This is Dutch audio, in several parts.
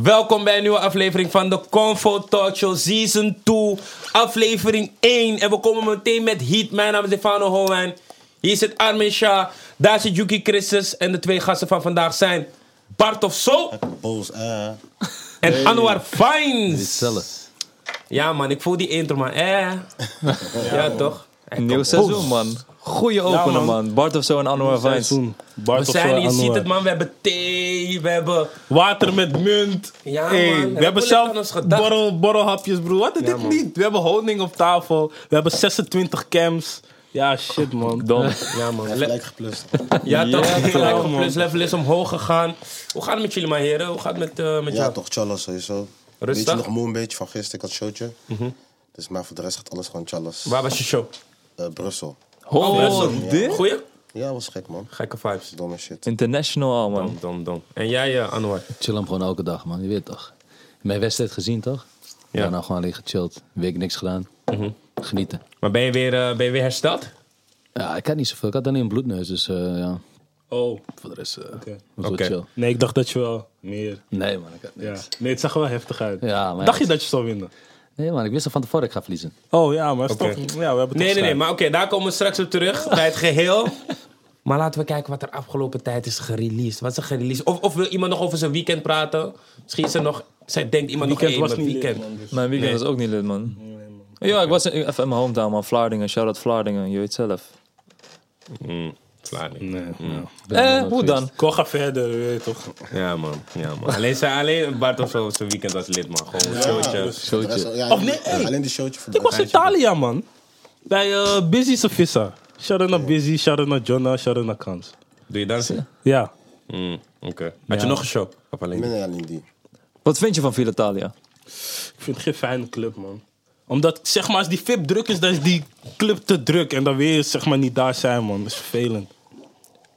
Welkom bij een nieuwe aflevering van de Convo Talk Show Season 2, aflevering 1. En we komen meteen met heat. Mijn naam is Stefano Holwijn. Hier zit Armin Shah, daar zit Yuki Christus. En de twee gasten van vandaag zijn Bart of Zo Boos, eh. en Anwar Fines. Zelf. Ja man, ik voel die intro man. Eh. Ja toch? Een nieuw seizoen, man. Goeie opener, man. man. Bart of zo en Anwar Vijns. seizoen. We Bart of zijn, zo, je ziet Anwar. het man, we hebben thee, we hebben... Water met munt. Ja, Hey, man. we hebben Lekker aan ons zelf gedacht. borrel, borrelhapjes, broer. Wat is dit niet? We hebben honing op tafel. We hebben 26 cams. Ja, shit, man. Dom. Ja man, le- gelijk geplust. Ja, toch? Ja, gelijk toch, op man. plus level is omhoog gegaan. Hoe gaat het met jullie, mijn heren? Hoe gaat het met, eh, met Ja, jou? toch, Charles sowieso. Rustig. Beetje nog moe een beetje van gisteren, ik had showtje. Dus maar voor de rest gaat alles gewoon Charles. Waar was je show? Eh, Brussel. Oh, dit? Goeie? Ja, was gek man. Gekke vibes. Domme shit. International al, man. Dom, dom, dom. En jij, eh Anwar? chill hem gewoon elke dag, man. Je weet toch? Mijn wedstrijd gezien, toch? Ja. Ja. Daarna gewoon alleen gechilled. Week niks gedaan. Genieten. Maar ben je weer, eh, ben je weer hersteld? Ja, ik had niet zoveel. Ik had alleen een bloedneus, dus eh, ja. Oh, Voor de rest eh Oké. was wel Oké. chill. nee, ik dacht dat je wel meer. Nee, man. Ik had Ja. niks. Nee, het zag er wel heftig uit. Ja, maar- dacht je dat je zou winnen? Nee, man. Ik wist al van tevoren dat ik ga verliezen. Oh ja, maar is Oké. toch, ja, we hebben Nee, toch nee, nee. strijd. Maar oké, daar komen we straks op terug. Bij het geheel. Maar laten we kijken wat er afgelopen tijd is gereleased. Wat is er gereleased? Of, of wil iemand nog over zijn weekend praten? Misschien is er nog... Zij denkt iemand Weekend nog was één niet weekend. leuk, man, dus- Mijn weekend was ook niet lid, man. Ja, ik was in- even in mijn hometown, man. Vlaardingen. Shout-out Vlaardingen. Je weet zelf. Sla niet. Nee, nou. Ik ben nog Eh, nooit hoe verliezen. dan? Kom, ga verder, je weet toch? Ja, man. Ja, man. Alleen, zij- alleen Bart of zo, zijn weekend was lid, man. Gewoon een showtje. Voor de rest- Showtje. ja, Of nee, hey. Alleen die showtje voor de Ik was in rest. Italië, man. Bij eh Busy Sofissa. Shout out naar Busy, shout out naar Jonna, shout out naar Kans. Doe je dansen? Ja. Mm, Oké. Had je nog een show? Of alleen Nee, nee, alleen die. Wat vind je van Villa Italia? Ik vind het geen fijne club, man. Omdat, zeg maar, als die VIP druk is, dan is die club te druk. En dan wil je, zeg maar, niet daar zijn, man. Dat is vervelend.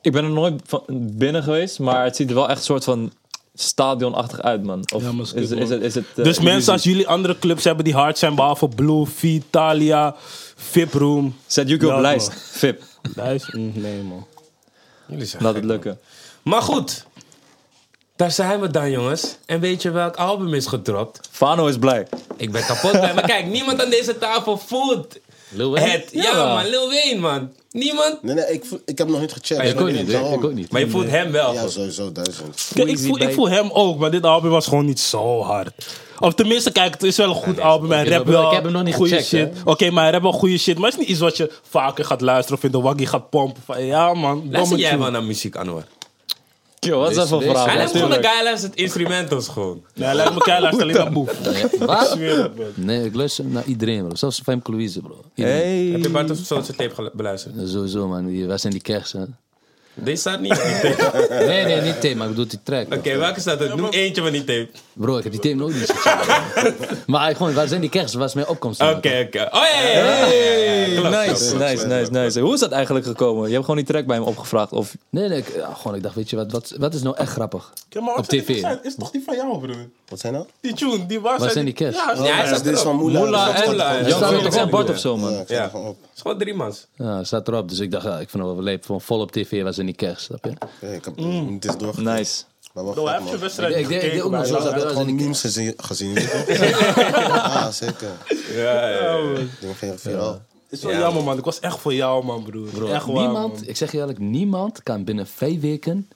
Ik ben er nooit van binnen geweest, maar het ziet er wel echt soort van stadionachtig uit, man. Of Ja, maar is, is kut, is, man. het... Is het eh, dus mensen, illusie? als jullie andere clubs hebben die hard zijn, behalve Blue, Vitalia, VIP Room. Zet Yuki op Ja, lijst. man. Vip. Daar is- mm, nee, man. Jullie zijn Laat gek, het lukken. man. Maar goed, daar zijn we dan, jongens. En weet je welk album is gedropt? Fano is blij. Ik ben kapot bij. Maar kijk, niemand aan deze tafel voelt Lil Wayne? het. Ja, man, Lil Wayne, man. Niemand. Nee, nee, ik, voel- ik heb nog niet gecheckt. ik Ik ook weet niet. waarom. Ik ook niet. Maar je voelt hem wel. Ja, goed. sowieso duizend. Kijk, ik, Easy voel, ik Bake. voel hem ook, maar dit album was gewoon niet zo hard. Of tenminste, kijk, het is wel een goed album. Hij rap heb hem- wel ik heb hem nog niet goede gecheckt, shit. Oké, maar hij rap wel goede shit. Maar het is niet iets wat je vaker gaat luisteren of in de waggie gaat pompen. Van, ja, man. Luister domme jij tune. wel naar muziek, Anwar? Yo, wat is dat voor deze- verhaal? Hij lijkt me gewoon een Natuurlijk. guy luistert instrumentals gewoon. Nee, laat me kijken, luister alleen naar Boef. Wat? Zweer op, man. Nee, ik luister naar iedereen, bro. Zelfs Fem Louise, bro. Iedereen. Heb Hey. je Bart of zo zijn tape gelu- beluisterd? Sowieso, man. Die- Wij zijn die kerst, hè. Deze staat niet op die tape. Oké, Nee, nee, niet thema. Ik bedoel die track. man. welke staat er? Noem eentje van die tape. Bro, ik heb die thema ook niet gecheckt. Maar gewoon, wij zijn die kerst. Waar is mijn opkomst? man? Oké, oké. Oh ja, ja, ja, ja, ja, ja, ja. Klopt, klopt. Nice, nice, nice, nice. Hoe is dat eigenlijk gekomen? Je hebt gewoon die track bij hem opgevraagd. Of Nee, nee. Ik, ja, gewoon, ik dacht, weet je wat, wat, wat is nou echt grappig? Ja, maar Op wat is tv. die- Is toch die van jou, broer? Wat zijn nou? Die tune, die was... Waar zijn die kerst? Oh, Ja, Ja, hij Dus staat dit is van Moela. Moela dus dat en staat er Lau- gewoon- staat Jan staat er toch ook wel Bart op, of zo, Ja, man? ik sta Ja. er gewoon op. Het is gewoon drie mans. Ja, staat erop. Dus ik dacht, ja, ik vind het wel leuk. Gewoon vol op tv was in die kerst, snap je? Ja, Ik heb het is doorgegaan. Nice. Maar wel Hij gek, heeft zijn man. wedstrijd Ik- niet ik- ik- ik- gekeken, ook maar nog hij Zoals heb was- dat dat gewoon ik- memes gezien. gezien ja, zeker. Ja, ja, ja. Dingen gingen viraal. Het is wel jammer, man. Ik was echt voor jou, man, broer. Bro, echt waar, niemand, man. ik zeg je eerlijk, niemand kan binnen vijf weken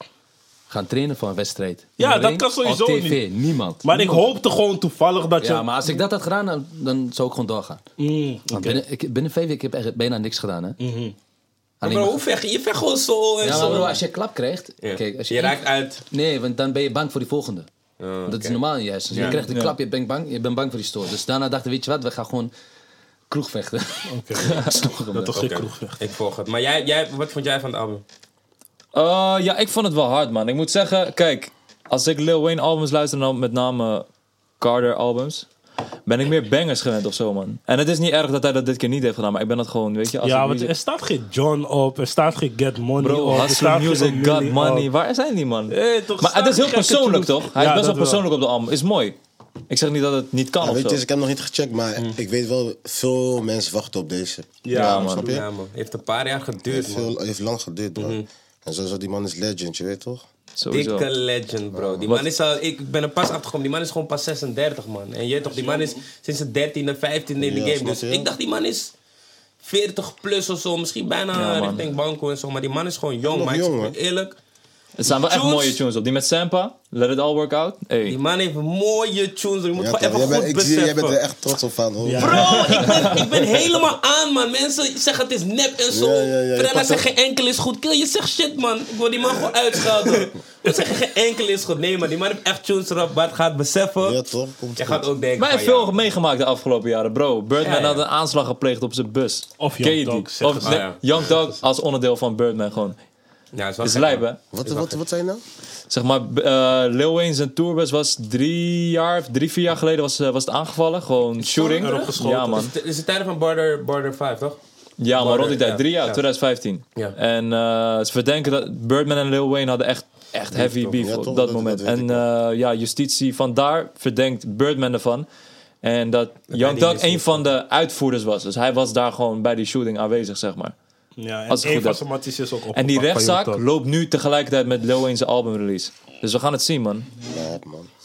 gaan trainen voor een wedstrijd. Ja, Iedereen dat kan sowieso op tv, Niemand. Maar ik hoopte gewoon toevallig dat je... Ja, maar als ik dat had gedaan, dan, dan zou ik gewoon doorgaan. Mm, Want binnen, ik, binnen vijf weken heb ik echt bijna niks gedaan, hè? Alleen Bro, maar- hoe vecht je? Je vecht gewoon zo en ja, maar zo. bro, als je klap krijgt, Ja. kijk, als je, je, raakt uit. Nee, want dan ben je bang voor die volgende. dat is normaal in je hersens. Je krijgt een klap, je bent bang, je bent bang voor die stoor. Dus daarna dacht ik, weet je wat, we gaan gewoon kroegvechten. dat was geen Oké, kroegvecht. Ik volg het. Maar jij, jij, wat vond jij van het album? Eh, ja, ik vond het wel hard, man. Ik moet zeggen, kijk, als ik Lil Wayne albums luister, dan met name Carter albums, ben ik meer bangers gewend of zo, man. En het is niet erg dat hij dat dit keer niet heeft gedaan, maar ik ben dat gewoon, weet je, als Ja, ik want muziek- er staat geen John op, er staat geen Get Money op. er Bro, hustle staat geen music, got op. money. Waar zijn die, man? Eh, toch, maar het staat is heel gekke persoonlijk, tunes. toch? Hij is Ja, best dat wel wel. persoonlijk op de album. Is mooi. Ik zeg niet dat het niet kan Ja, of weet zo. je, dus ik heb nog niet gecheckt, maar Mm. ik weet wel, veel mensen wachten op deze. Ja, man. Snap je? Ja, man. Heeft een paar jaar geduurd, Het man. Mm-hmm. heeft, veel- heeft lang geduurd, man. En sowieso, die man is legend, je weet toch? Sowieso. Dikke legend, bro. Die man is al, ik ben er pas achter gekomen. Die man is gewoon pas 36, man. En je weet toch, die man is sinds zijn 13e, 15e in de Ja, game. snap Dus je? ik dacht, die man is 40 plus of zo. Misschien bijna Ja, man. richting Banco en zo. Maar die man is gewoon jong, Nog maar ik jong, zeg je hoor. eerlijk. Het zijn wel echt Tunes. mooie tunes op. Die met Sampa, Let It All Work Out. Hey. Die man heeft mooie tunes. Je moet gewoon Ja, toch? Jij even bent- goed ik zie- Jij bent er beseffen. echt trots op aan, hoor. Bro, ik ben, ik ben helemaal aan, man. Mensen zeggen het is nep en zo. Ja, ja, ja, je Frenna pakt zegt het. geen enkel is goed. Kill, je zegt shit, man. Ik wil die man gewoon uitschelden. We zeggen geen enkel is goed. Nee, man. Die man heeft echt tunes erop. Bart gaat beseffen. Ja, toch? Komt Jij goed. gaat ook denken Wij van, hebben veel ja. meegemaakt de afgelopen jaren, bro. Birdman Ja, ja. had een aanslag gepleegd op zijn bus. Of Ken Young je die? Thug, zeggen Of ze. nee, Ah, ja. Young Dog als onderdeel van Birdman gewoon. Ja, het is wel is gek, lijp, man. hè? Wat, wat, wat zei je nou? Zeg maar, eh Lil Wayne zijn tourbus was drie jaar, drie, vier jaar geleden was, eh, was het aangevallen. Gewoon shooting. erop geschoten. Ja, man. Het is- Het is de tijden van Border, Border 5, toch? Ja, maar Border, rond die tijd. ja. Drie jaar, Ja. 2015. Ja. En eh, ze verdenken dat Birdman en Lil Wayne hadden echt, echt heavy beef Ja, op toch, dat, dat- moment. dat weet en ik eh, ja, justitie vandaar verdenkt Birdman ervan. En dat Young die Thug missie een van de uitvoerders was. Dus hij was daar gewoon bij die shooting aanwezig, zeg maar. Ja, en Als het een goed van is. zijn matties is ook opgepakt. En die van Young rechtszaak Thug. loopt nu tegelijkertijd met Lil Wayne's albumrelease. Dus we gaan het zien, man. Nee,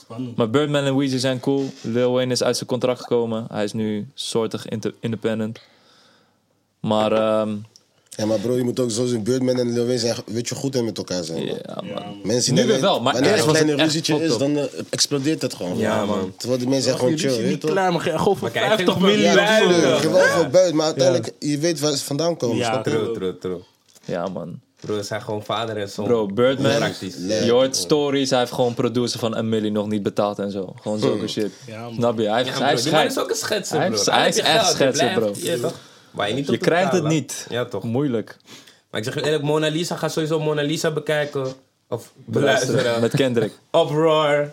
man. Maar Birdman en Weezy zijn cool. Lil Wayne is uit zijn contract gekomen. Hij is nu soortig inter- independent. Maar, ehm, Ja, maar bro, je moet ook zo zijn Birdman en Lil Wayne zijn, weet je, goed in met elkaar zijn. man. ja, man. Mensen Nu die weer wel, maar wanneer er eerst een was het kleine echt ruzietje fucked is, up. dan eh, explodeert het gewoon. Ja, man. Terwijl die mensen zijn gewoon Jullie chill, zien weet je niet toch? klein, maar gewoon voor Maar kijk, 50 geen miljoen. Ja, Luider. tuurlijk. Je wil Ja. voor buiten, maar uiteindelijk, je weet waar ze vandaan komen. Ja. snap je? True, true, true. ja, man. Bro, ze zijn gewoon vader en zoon. Bro, Birdman. Praktisch. Je hoort stories. Hij heeft gewoon producer van Emily nog niet betaald en zo. Gewoon zulke shit. Ja, man. Snap je? Hij, Ja, heeft- bro, hij heeft die man schijt. is ook een schetser, Hij bro. heeft- hij heeft is je echt geld, je schetser, blijft- bro. ja, toch? Waar je niet Je op krijgt het betalen. niet. Ja, toch? Moeilijk. Maar ik zeg je eerlijk, Mona Lisa gaat sowieso Mona Lisa bekijken. Of Beluisteren. beluisteren. Met Kendrick. Uproar.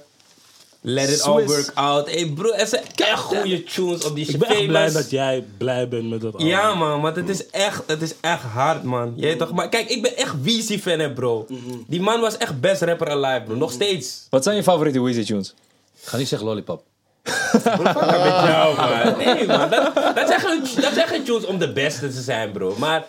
Let it all Swiss. work out. Hey bro, er zijn echt goede tunes op die Ik ben echt Famous. blij dat jij blij bent met dat album. Ja man, want het is echt, het is echt hard man. Je weet toch, maar kijk, ik ben echt Weezy fan hè bro. Die man was echt best rapper alive bro, nog steeds. Wat zijn je favoriete Weezy tunes? Ga niet zeggen lollipop. Ja man. Nee man, dat, dat, zijn geen, dat zijn geen tunes om de beste te zijn bro. Maar,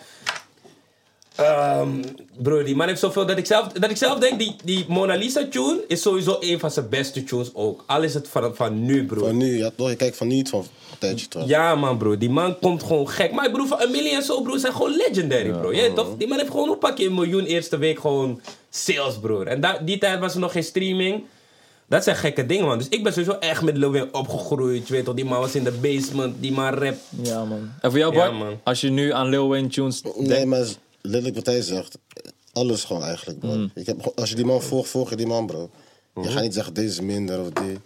ehm, bro die man heeft zoveel dat ik zelf, dat ik zelf denk, die, die Mona Lisa tune is sowieso een van zijn beste tunes ook. Al is het van, van nu bro. Van nu, ja toch? Je kijkt van niet van een tijdje terug. Ja, man, bro. Die man komt gewoon gek. Maar ik bedoel, van Amelie en zo, bro, zijn gewoon legendary, bro. Jij toch? Die man heeft gewoon, hoe pak je een miljoen eerste week gewoon sales, bro. En da- die tijd was er nog geen streaming. Dat zijn gekke dingen, man. Dus ik ben sowieso echt met Lil Wayne opgegroeid. Je weet toch, die man was in de basement, die man rap. Ja, man. En voor jou, Ja, Bart? man. als je nu aan Lil Wayne tunes denkt. Nee, maar letterlijk wat hij zegt. Alles gewoon eigenlijk, bro. Mm. Ik heb, gewoon- als je die man volgt, volg je die man, bro. Je gaat niet zeggen, deze is minder of die.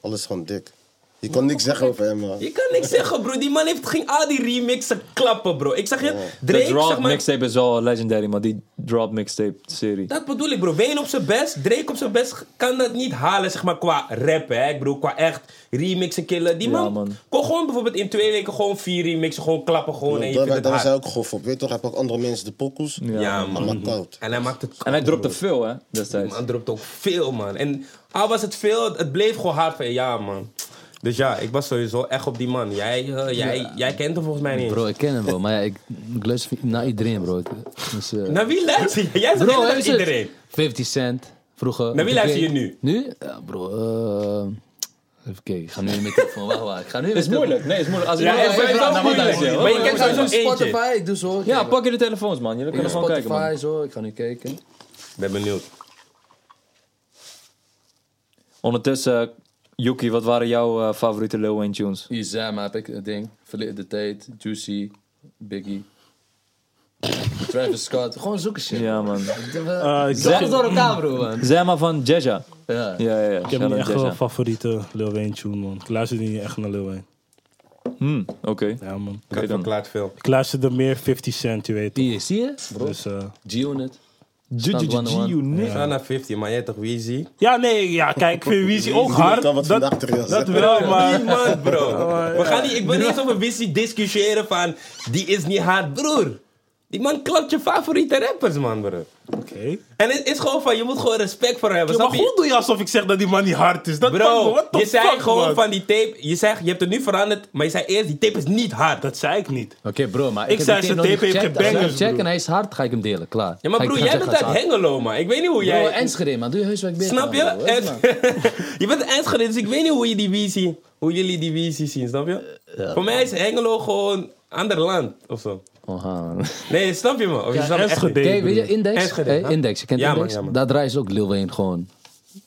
Alles gewoon dik. Je kon niks zeggen over hem, man. Je kan niks zeggen, bro. Die man heeft, ging al die remixen klappen, bro. Ik zeg je, De Drake, Drop zeg maar... mixtape is wel legendary, man. Die Drop mixtape serie. Dat bedoel ik, bro. Wayne op zijn best, Drake op zijn best kan dat niet halen, zeg maar, qua rap, hè. Ik bedoel, qua echt remixen killen. Die Ja, man, man. kon gewoon bijvoorbeeld in twee weken gewoon vier remixen, gewoon klappen gewoon en je Daar vindt het daar was hij hard. ook grof op, weet je toch? Hij pakt andere mensen de pokkels. Ja. Ja, man. Maar koud. En hij maakt het En hij dropte veel. veel, hè, destijds. Man, hij dropt ook veel, man. En al was het veel, het bleef gewoon hard van, ja, man. Dus ja, ik was sowieso echt op die man. Jij, eh, jij, jij kent hem volgens mij niet. Bro, ik ken hem wel, maar ja, ik, ik luister niet naar iedereen, bro. Ik- Dus, eh, Naar wie luister je? Jij zegt bro, naar hè, is het- iedereen. 50 Cent, vroeger. Naar wie Dre. luister je nu? Nu? Ja, bro, eh, even kijken. Ik ga nu in mijn telefoon. Wacht, wacht. Ik ga nu in mijn Is moeilijk. Nee, is moeilijk. Als Ja, iemand- is sowieso telefoon. moeilijk. luisteren. Maar je kent sowieso Spotify, eentje. Spotify, ik doe zo. Ja, Kijk, pak je de telefoons, man. Jullie kunnen gewoon kijken, man. Spotify, zo. Ik ga nu kijken. Ben benieuwd. Ondertussen, eh, Yuki, wat waren jouw eh, favoriete Lil Wayne tunes? Izama heb ik het ding. Verleden de tijd. Juicy. Biggie. Travis Scott. Gewoon zoeken shit. Ja, man. Eh, ik, Zet dacht- het door elkaar, bro, man. Zema van Jaja. Ja. Ja, ja, ja. ik heb niet echt wel Jaja. een favoriete Lil Wayne tune, man. Ik luister niet echt naar Lil Wayne. Hmm, Oké. Ja, man. Dat dan. verklaart veel. Ik luisterde meer 50 Cent, je weet toch. Hier, zie je? Dus, eh, G-Unit. Ju- ju- ju- Staat 101. ju- ju- Ga naar 50, maar jij toch Weezy? ja, nee, ja, kijk, ik vind Weezy ook Die hard. kan wat Dat, vandaag terug dat zeggen. wel, maar... Niemand, Oh, bro. We gaan niet, ik ben niet eens over Weezy discussiëren van die is niet hard, broer. Die man klapt je favoriete rappers, man, bro. Oké. En het is gewoon van, je moet gewoon respect voor hem hebben. Ja, maar snap je? goed doe je alsof ik zeg dat die man niet hard is. Dat kan me- Bro, what the je zei fuck, gewoon man? van die tape. Je, zei, je hebt het nu veranderd, maar je zei eerst: die tape is niet hard. Dat zei ik niet. Oké, bro, maar ik, Ik heb zei, die zijn nog niet tape heeft gecheckt. Als ik hem gebangers, check broer. en hij is hard, ga ik hem delen, klaar. Ja, maar Ga ik- broer, ga jij ik zeggen, bent hij uit is hard. Hengelo, man. Ik weet niet hoe jij. Bro, Enschede, man, doe je huiswerk beter. Snap je? man, bro. Echt, man. En- je bent een Enschede, dus ik weet niet hoe, je die visie, hoe jullie die visie zien, snap je? Eh, Voor mij is Hengelo gewoon ander land of zo. Oha, man. Nee, snap je me? Of je snapt echt Enschede, niet. Oké, weet je, broer. Index? Enschede, Hey, hè? index, je kent Ja, man, Index? ja, man. Daar draaien ze ook Lil Wayne gewoon.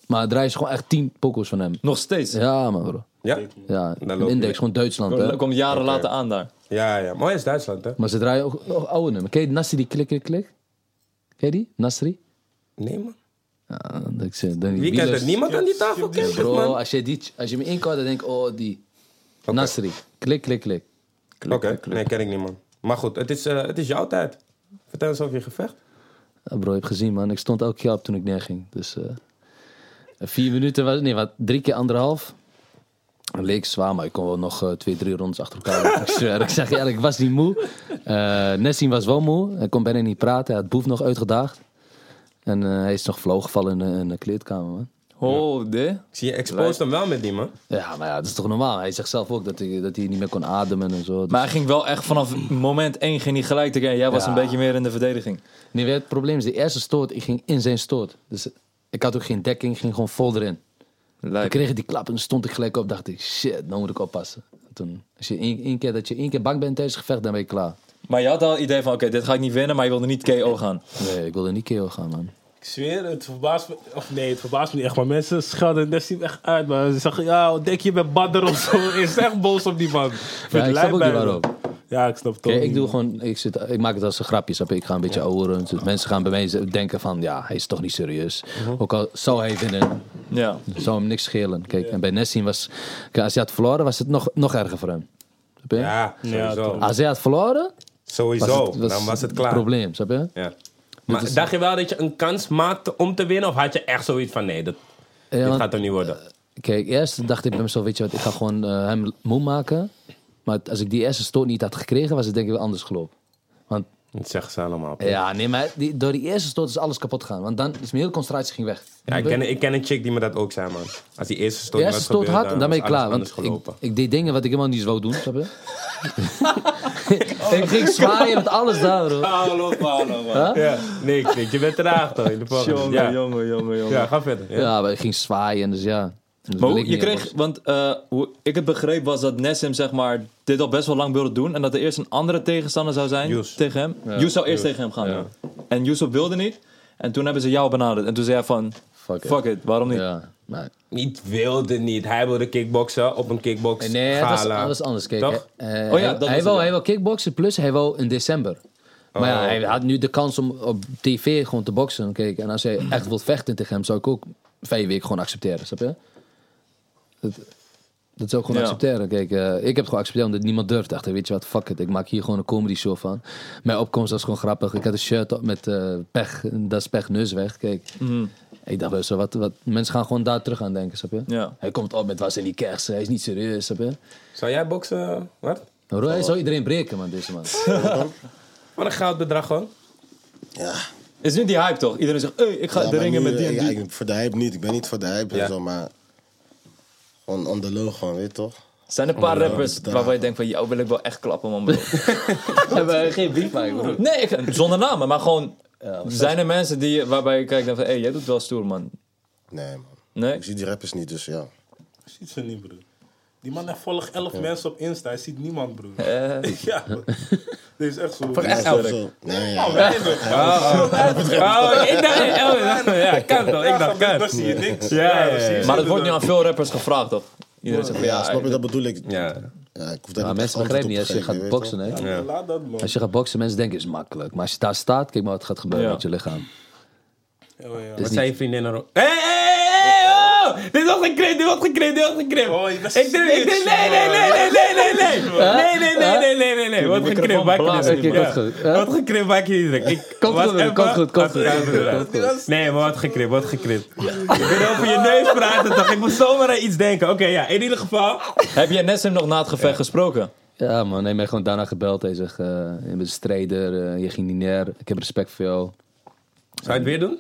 Maar draaien ze gewoon echt 10 pokkels van hem. Nog steeds. Ja, man, bro. Ja? Ja, Daar loop je Index, mee. gewoon Duitsland, hè. Dat komt jaren later aan daar. Ja, ja. Maar hij is Duitsland, hè? Maar ze draaien ook nog oude nummers. Ken je Nasri die klik, klik, klik? Ken je die? Nasri? Nee, man. Ja, dat ik ze, dan Wie kent het? Niemand aan die tafel kent het, Bro, man. als je, die, als je me inkoudt, dan denk ik, oh, die. Nasri. Klik, klik, klik. Oké, nee, ken ik niet, man. Maar goed, het is, eh, het is jouw tijd. Vertel eens over je gevecht. Ja, bro, je hebt gezien, man. Ik stond elke keer op toen ik neerging. Dus eh, vier minuten, was, nee, wat, drie keer anderhalf. Het leek zwaar, maar ik kon wel nog eh, twee, drie rondes achter elkaar. lopen. ik zweer, ik zeg je eerlijk, ik was niet moe. Eh Nessim was wel moe. Hij kon bijna niet praten. Hij had Boef nog uitgedaagd. En eh, hij is nog flauw gevallen in, de- in de kleedkamer, man. Oh, de? Ik zie je exposed hem wel met die, man. Ja, maar ja, dat is toch normaal? Hij zegt zelf ook dat hij, dat hij niet meer kon ademen en zo. Dus- Maar hij ging wel echt vanaf moment 1 ging hij gelijk te gaan. Jij was Ja. een beetje meer in de verdediging. Nee, weet je, het probleem is, de eerste stoot, ik ging in zijn stoot. Dus ik had ook geen dekking, ik ging gewoon vol erin. Lijp. Ik kreeg die klap en stond ik gelijk op. Dacht ik, shit, nou moet ik oppassen. Toen, als je één, één keer, dat je één keer bang bent tijdens het gevecht, dan ben je klaar. Maar je had al het idee van, oké, dit ga ik niet winnen, maar je wilde niet KO gaan. Nee, ik wilde niet KO gaan, man. Ik zweer, het verbaast me. Of nee, het verbaast me niet echt. Maar mensen schelden Nessim echt uit. Maar ze zeggen, ja, wat denk je met badder of zo? Hij is echt boos op die man. Ik vind Ja, ik het snap lijp ook bij niet hem. waarom. Ja, ik snap het ook Kijk, ik niet, doe man. gewoon, ik, zit, ik maak het als een grapje, snap je? Ik ga een beetje ouweren. Dus mensen gaan bij mij z- denken van, ja, hij is toch niet serieus. Ook al zou hij winnen, Ja. zou hem niks schelen. Kijk, en bij Nessim was, kijk, als hij had verloren, was het nog, nog erger voor hem. Snap je? Ja, sowieso. Als hij had verloren, was sowieso. het, was Dan was het een klaar. probleem, snap je? Ja. Maar dacht je wel dat je een kans maakte om te winnen? Of had je echt zoiets van, nee, dat, dit want- Eh, gaat er niet worden? Kijk, eerst dacht ik bij mezelf, weet je wat, ik ga gewoon eh, hem moe maken. Maar het- als ik die eerste stoot niet had gekregen, was het denk ik wel anders gelopen. Want Dat zeggen ze allemaal. ja, nee, maar die, door die eerste stoot is alles kapot gegaan. Want dan is mijn hele concentratie ging weg. Ja, ik ken, ik ken een chick die me dat ook zei, man. Als die eerste De stoot eerste was stoot gebeurd, hard en dan ben ik was alles klaar. Want anders ik, gelopen. ik deed dingen wat ik helemaal niet wou doen, snap je? Oh. ik ging zwaaien met alles daar, bro. Paolo, Paolo, man. Huh? Ja, niks, niks. Je bent traag, toch? In de volgende. Jongen, ja. jongen, jongen, jongen. ja, ga verder. Ja. Ja, maar ik ging zwaaien, dus ja. Dat wil Maar hoe, ik je niet, kreeg, jongens. want eh, hoe ik het begreep was dat Nessim zeg maar dit al best wel lang wilde doen en dat er eerst een andere tegenstander zou zijn Yus. tegen hem. Yus zou eerst tegen hem gaan. En Yusuf wilde niet. En toen hebben ze jou benaderd. En toen zei hij van, Fuck fuck, it. it, waarom niet? Ja, maar Niet wilde niet. Hij wilde kickboksen op een kickbox. Nee, het was, gala. het was anders. Kijk, Toch? eh, Oh ja, hij, dat was hij wou, het, ja. Oh. hij wou kickboksen, plus hij wou in december. Maar ja, hij had nu de kans om op tv gewoon te boksen. Kijk, en als hij echt wilt vechten tegen hem, zou ik ook vijf weken gewoon accepteren. Snap je? Dat, dat zou ik gewoon Ja. accepteren. Kijk, eh, ik heb het gewoon accepteerd omdat niemand durft. Dacht, weet je wat, fuck it. Ik maak hier gewoon een comedy show van. Mijn opkomst was gewoon grappig. Ik had een shirt op met eh, pech. Dat is pech neus weg. Kijk. Mhm. Ik dacht, zo, wat, wat, mensen gaan gewoon daar terug aan denken, snap je? Ja. Hij komt op met was in die kerst. Hij is niet serieus, snap je? Zou jij boksen? Wat? Bro, Oh. hij zou iedereen breken, man, deze man. Wat een goud bedrag, gewoon. Ja. Is nu die hype toch? Iedereen zegt, hey, ik ga Ja, de maar ringen nu, met die en ik- die. ik ben voor de hype niet. Ik ben niet voor de hype Ja. en zo, maar... Gewoon on the low gewoon, weet je toch? Zijn er een paar rappers Oh, daar. waarvan je denkt van, jou wil ik wel echt klappen man bro. Hebben geen beef maken, bro. nee, ik- zonder namen, maar gewoon, zijn er mensen die, je- waarbij je kijkt en van, hé, hey, jij doet wel stoer man. Nee, man. Nee? Ik zie die rappers niet, dus ja. Ik zie ze niet, broer. Die man heeft volgt elf mensen op Insta. Hij ziet niemand, broer. ja, broer. Dit is echt zo. Voor echt elk. Zo. Nee, Oh, ja. weinig. Oh, ik dacht, eh, oh, ja, kan toch? Ik dacht, Ja, kan. dan zie je niks. ja, ja. dan zie je ze Maar dat wordt nu inderdaad. aan veel rappers gevraagd toch? Iedereen zegt van, Ja, ja, snap je, dat bedoel ik. Ja. Ja, ik hoef daar Maar niet echt Nou, mensen begrijpen niet antwoord op als te je geven, weet je gaat boksen, hè. Ja, Laat dat, man. Als je gaat boksen, mensen denken, is makkelijk. Maar als je daar staat, kijk maar wat gaat gebeuren Ja. met je lichaam. Oh, Ja, ja. Wat zei je vriendin erop? Hé, hé, hé, hé, oh! Dit was geknipt, dit was geknipt, dit was geknipt. Oh, je bent ik denk, ik denk, nee, nee, nee, nee, nee, nee, nee. Nee, nee, nee, nee, nee, nee, nee. Wat geknipt, maak je niet blazen, druk. Oké, Ja. komt goed. Hè? Wat geknipt, maak je niet druk. Ik Komt was goed, broer, even- komt goed, komt goed, Ja, komt goed, ja. komt goed. Nee, maar wat geknipt, wat geknipt. Ik ben over je neus praten, toch? Ik moet zomaar aan iets denken. Oké, ja, in ieder geval. Heb je Nessim nog na het gevecht gesproken? Ja, man. Hij heeft mij gewoon daarna gebeld. Hij zegt, eh, je bent een strijder, eh, je ging niet neer. Ik heb respect voor jou. Zou je het weer doen?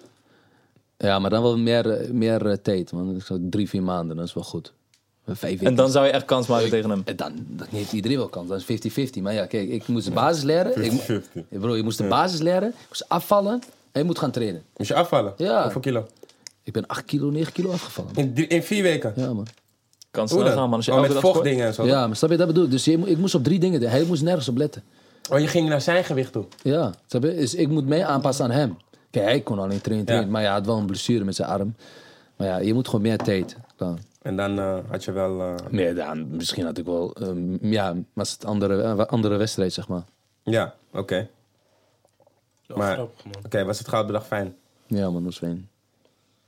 Ja, maar dan wel meer, eh, meer eh, tijd, man. Ik zou drie, vier maanden, dat is wel goed. Vijf En weken. dan zou je echt kans maken tegen hem. En Eh, dan, dan heeft iedereen wel kans. Dan is 50-50. Maar ja, kijk, ik moest de basis leren. Ik, mo- Eh, bro, je moest de basis leren. Ik moest afvallen. En je moet gaan trainen. Moest je afvallen? Ja. Hoeveel kilo? Ik ben 8 kilo, 9 kilo afgevallen. In, drie- in vier weken? Ja, man. Kan snel Hoe dan? gaan, man. Als je oh, elke met dag sport. vochtdingen en zo. Ja, maar snap je, dat bedoel ik. Dus je, mo- ik moest op drie dingen. Hij moest nergens op letten. Oh, je ging naar zijn gewicht toe. Ja, snap je? Dus ik moet mij aanpassen aan hem. Kijk, hij kon alleen trainen, trainen. Maar ja, hij had wel een blessure met zijn arm. Maar ja, je moet gewoon meer tijd. Dan. En dan eh, had je wel... eh, Meer dan, misschien had ik wel... ehm, ja, was het andere, eh, andere wedstrijd, zeg maar. Ja, oké. Maar, grappig, oké, was het goudbedrag fijn? Ja, man, dat is fijn.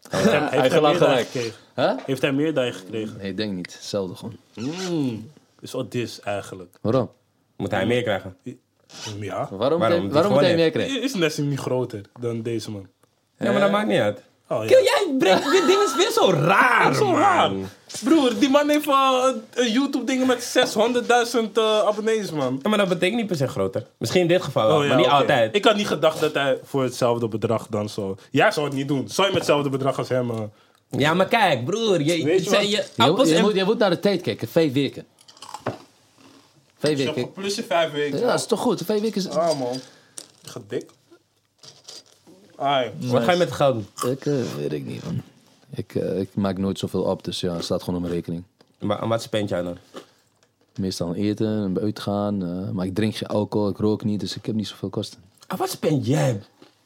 Heeft hij- heeft hij meer gelacht dan gelijk. gekregen? Huh? Heeft hij meer dan je gekregen? Nee, ik denk niet. Hetzelfde gewoon. Is al Dus dis eigenlijk. Waarom? Moet hij meer krijgen? Ja. Waarom, moet Waarom? hij- Die waarom moet hij gewoon meer krijgen? Is Nessim niet groter dan deze man? Ja, maar dat maakt niet uit. Oh, ja. Kill, jij brengt dit ding is weer zo raar, Zo man. raar. Broer, die man heeft eh, een YouTube-ding met 600.000 eh, abonnees, man. Ja, maar dat betekent niet per se groter. Misschien in dit geval wel, Oh, ja, maar niet oké. altijd. Ik had niet gedacht dat hij voor hetzelfde bedrag dan zo... Jij zou het niet doen. Zou je met hetzelfde bedrag als hem... eh, Ja, maar kijk, broer. Je, Weet je zijn wat? je Je, appels je en... moet, je moet naar de tijd kijken. Vijf weken. Vijf Ik heb weken. plus in vijf weken. Ja, dat is toch goed. Vijf weken is... Ah, man. Gedik. Ai. Wat ga je met het geld doen? Ik eh, weet ik niet, man. Ik, eh, ik maak nooit zoveel op, dus ja, het staat gewoon op mijn rekening. Maar, aan wat spend jij dan? Meestal aan eten, aan uitgaan. eh, maar ik drink geen alcohol, ik rook niet, dus ik heb niet zoveel kosten. Aan Ah, wat spend jij,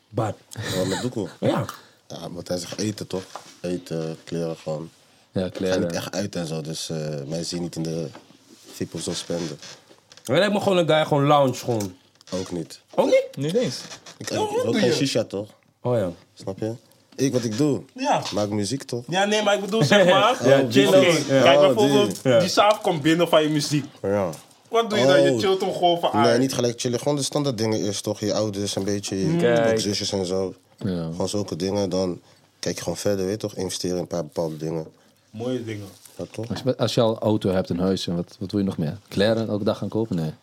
Bart? Gewoon met doekoe. Ja. Ja, want hij zegt eten toch? Eten, kleren gewoon. Ja, Ik ga niet kleren. echt uit en zo, dus eh mij zie je niet in de VIP of zo spenden. Dan lijkt me gewoon een guy, gewoon lounge gewoon. Ook niet. Ook niet? Niet eens. Ik, ik rook geen shisha toch? Oh ja. Snap je? Ik wat ik doe. Ja. Maak muziek toch? Ja, nee, maar ik bedoel, zeg maar... Ja, Oké, chill out. Ja. Kijk, Oh, bijvoorbeeld, die. Ja. die saaf komt binnen van je muziek. Ja. Wat doe je dan? Je Oh. chillt hem gewoon van Nee, ai. niet gelijk chillen. Gewoon de standaard dingen eerst toch? Je ouders een beetje, je ook zusjes en zo. Ja. Gewoon zulke dingen. Dan kijk je gewoon verder, weet je toch? Investeren in een paar bepaalde dingen. Mooie dingen. Ja, toch? Als je, als je al auto hebt, een huis, en wat, wat wil je nog meer? Kleren elke dag gaan kopen? Nee.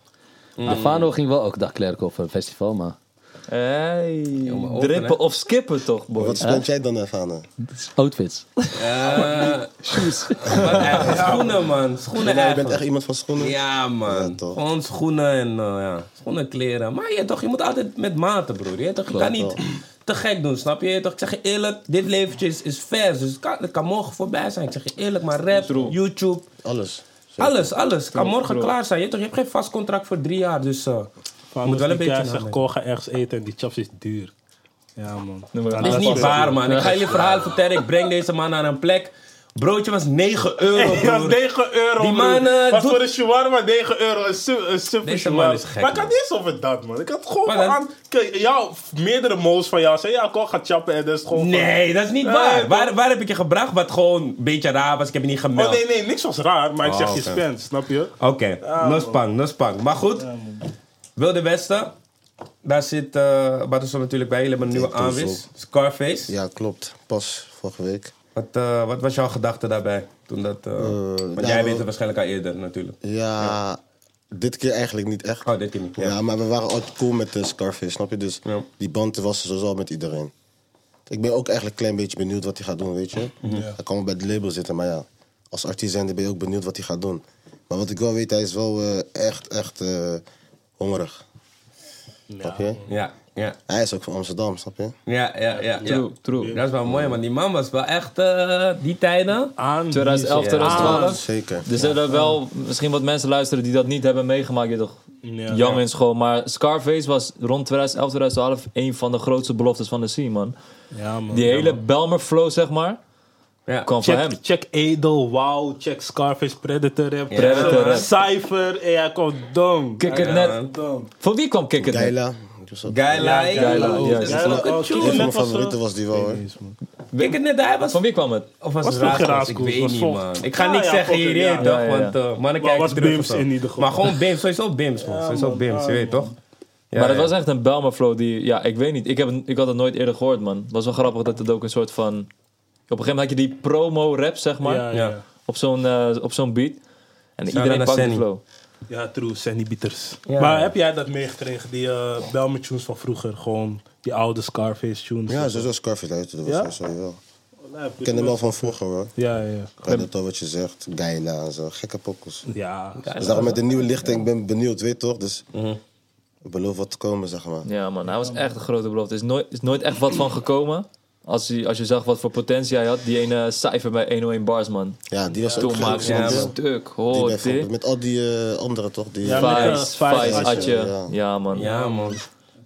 Stefano ging wel elke dag kleren kopen voor een festival, maar... Hey. open, Drippen hè. of skippen toch, boy. Wat spend jij dan even aan? Outfits. Eh Shoes. eh, schoenen, man. Schoenen Je bent eigenlijk. echt iemand van schoenen? Ja, man. Ja, toch. Gewoon schoenen en eh, ja. schoenen, kleren. Maar je, toch, je moet altijd met maten, broer. Je, toch, je kan niet te gek doen, snap je? je? toch, ik zeg je eerlijk, dit leventje is, is vers. Dus het kan, het kan morgen voorbij zijn. Ik zeg je eerlijk, maar rap, YouTube, Alles. alles, alles. Het kan morgen klaar zijn. Je, toch, je hebt geen vast contract voor drie jaar. Dus eh, je moet wel een beetje... zegt, nadenken. Ko, ga ergens eten en die chaps is duur. Ja, man. Noem maar Ja, op. Dit is niet waar, man. Ik ga jullie verhaal vertellen. Ik breng deze man naar een plek. Broodje was 9 euro, Ja, broer. 9 euro. Die broer. man, eh, Was doet- voor een shawarma 9 euro. Een su- een super Deze shawarma. man is gek, Maar ik man. had niet eens over dat, man. Ik had gewoon Maar van dan- aan... Kijk, jou, meerdere mo's van jou zeiden, ja, Ko, ga chappen en dat is gewoon... Nee, dat is niet Nee, Eh, waar. man. Waar, waar heb ik je gebracht wat gewoon een beetje raar was? Ik heb je niet Oh, gemeld. nee, nee, niks was raar, maar ik Oh, zeg, je oké. spent, snap je? Oké, Ja, no spang, no spang. Maar goed, Wilde Westen. Daar zit eh Bartosom natuurlijk bij. Jullie hebben een nieuwe Ja, Toezo. aanwis. Scarface. Ja, klopt. Pas vorige week. Wat, eh, wat was jouw gedachte daarbij? Toen dat, eh, want nou, jij wel- weet het waarschijnlijk al eerder natuurlijk. Ja, dit keer eigenlijk niet echt. Oh, dit keer niet. Ja. Ja, maar we waren altijd cool met de Scarface, snap je? Dus Ja. die band was er sowieso al met iedereen. Ik ben ook eigenlijk een klein beetje benieuwd wat hij gaat doen, weet je? Mhm. Hij kan wel bij het label zitten, maar ja. Als artiest zijnde ben je ook benieuwd wat hij gaat doen. Maar wat ik wel weet, hij is wel eh, echt, echt eh, hongerig. Snap je? Ja, ja, Hij is ook van Amsterdam, snap je? ja, ja. ja, True, ja. true. Dat is wel mooi, man. Die man was wel echt eh, die tijden. Aan 2011, Ah. 2012. Zeker. Dus Er zullen wel misschien wat mensen luisteren die dat niet hebben meegemaakt. Je toch Ja. jong in school. Maar Scarface was rond 2011, 2012 een van de grootste beloftes van de scene, man. Ja, man. Die hele Belmer flow, zeg maar, Ja. kwam van Check, hem. check Edel, Wow, check Scarface, Predator Rap, Predator Rap. Cypher, en hij komt dom. Kick it Ja, net. man. Dom. Van wie kwam Kick It Net? Gaila. die was ook- Gaila. Ja, Gaila, joh. ja. Dat is Gaila, ook een oh, tune. Kill Een van mijn Net was favorieten was die wel, hoor. Ik het net, hij was... Van wie kwam het? Of was, Was het toch Raaskas? Raaskas? Ik weet Was niet, Fokker. man. Ik ga Ah, niet ja, zeggen Fokker, hier, ja. je weet toch? Ja, ja, ja. Want eh, mannen Maar kijken was terug of Bims zo. in ieder geval. Maar gewoon Bims, sowieso Bims, man. sowieso man, Bims, je ja, weet toch? Ja, maar dat ja. was echt een Belmer flow die, ja, ik weet niet. Ik, heb, het- ik had het nooit eerder gehoord, man. Het was wel grappig dat het ook een soort van... Op een gegeven moment had je die promo-rap, zeg maar, Ja, ja. Ja. op zo'n eh, op zo'n beat. En Shout-out iedereen naar pakt die Senny. flow. Ja, true, Sandy Bieters. Ja. Maar heb jij dat meegekregen, die eh Belmer tunes van vroeger? Gewoon die oude Scarface tunes? Ja, sowieso Scarface uit. Dat was Ja? sowieso wel. Ja, Ik ken hem wel van vroeger hoor. Ja, ja. Ik weet het al wat je zegt. Geila en zo. Gekke pokkels. Ja, Dus daarom met de nieuwe lichting, ik ben benieuwd, weet toch? Dus ik beloof wat te komen, zeg maar. Mhm. Ja, man, hij was echt een grote belofte. Er is nooit, is nooit echt wat van gekomen. Als, hij, als je zag wat voor potentie hij had, die ene cijfer bij 101 Bars, man. Ja, die was ook Toen maakte gek, hij man. een stuk, Die hoor. bij dit. Fok- Met al die eh, anderen toch? Die, Ja, maar- Vijs, Vijs, Vijs, Atje. Atje. Ja. Ja, man. Ja, man.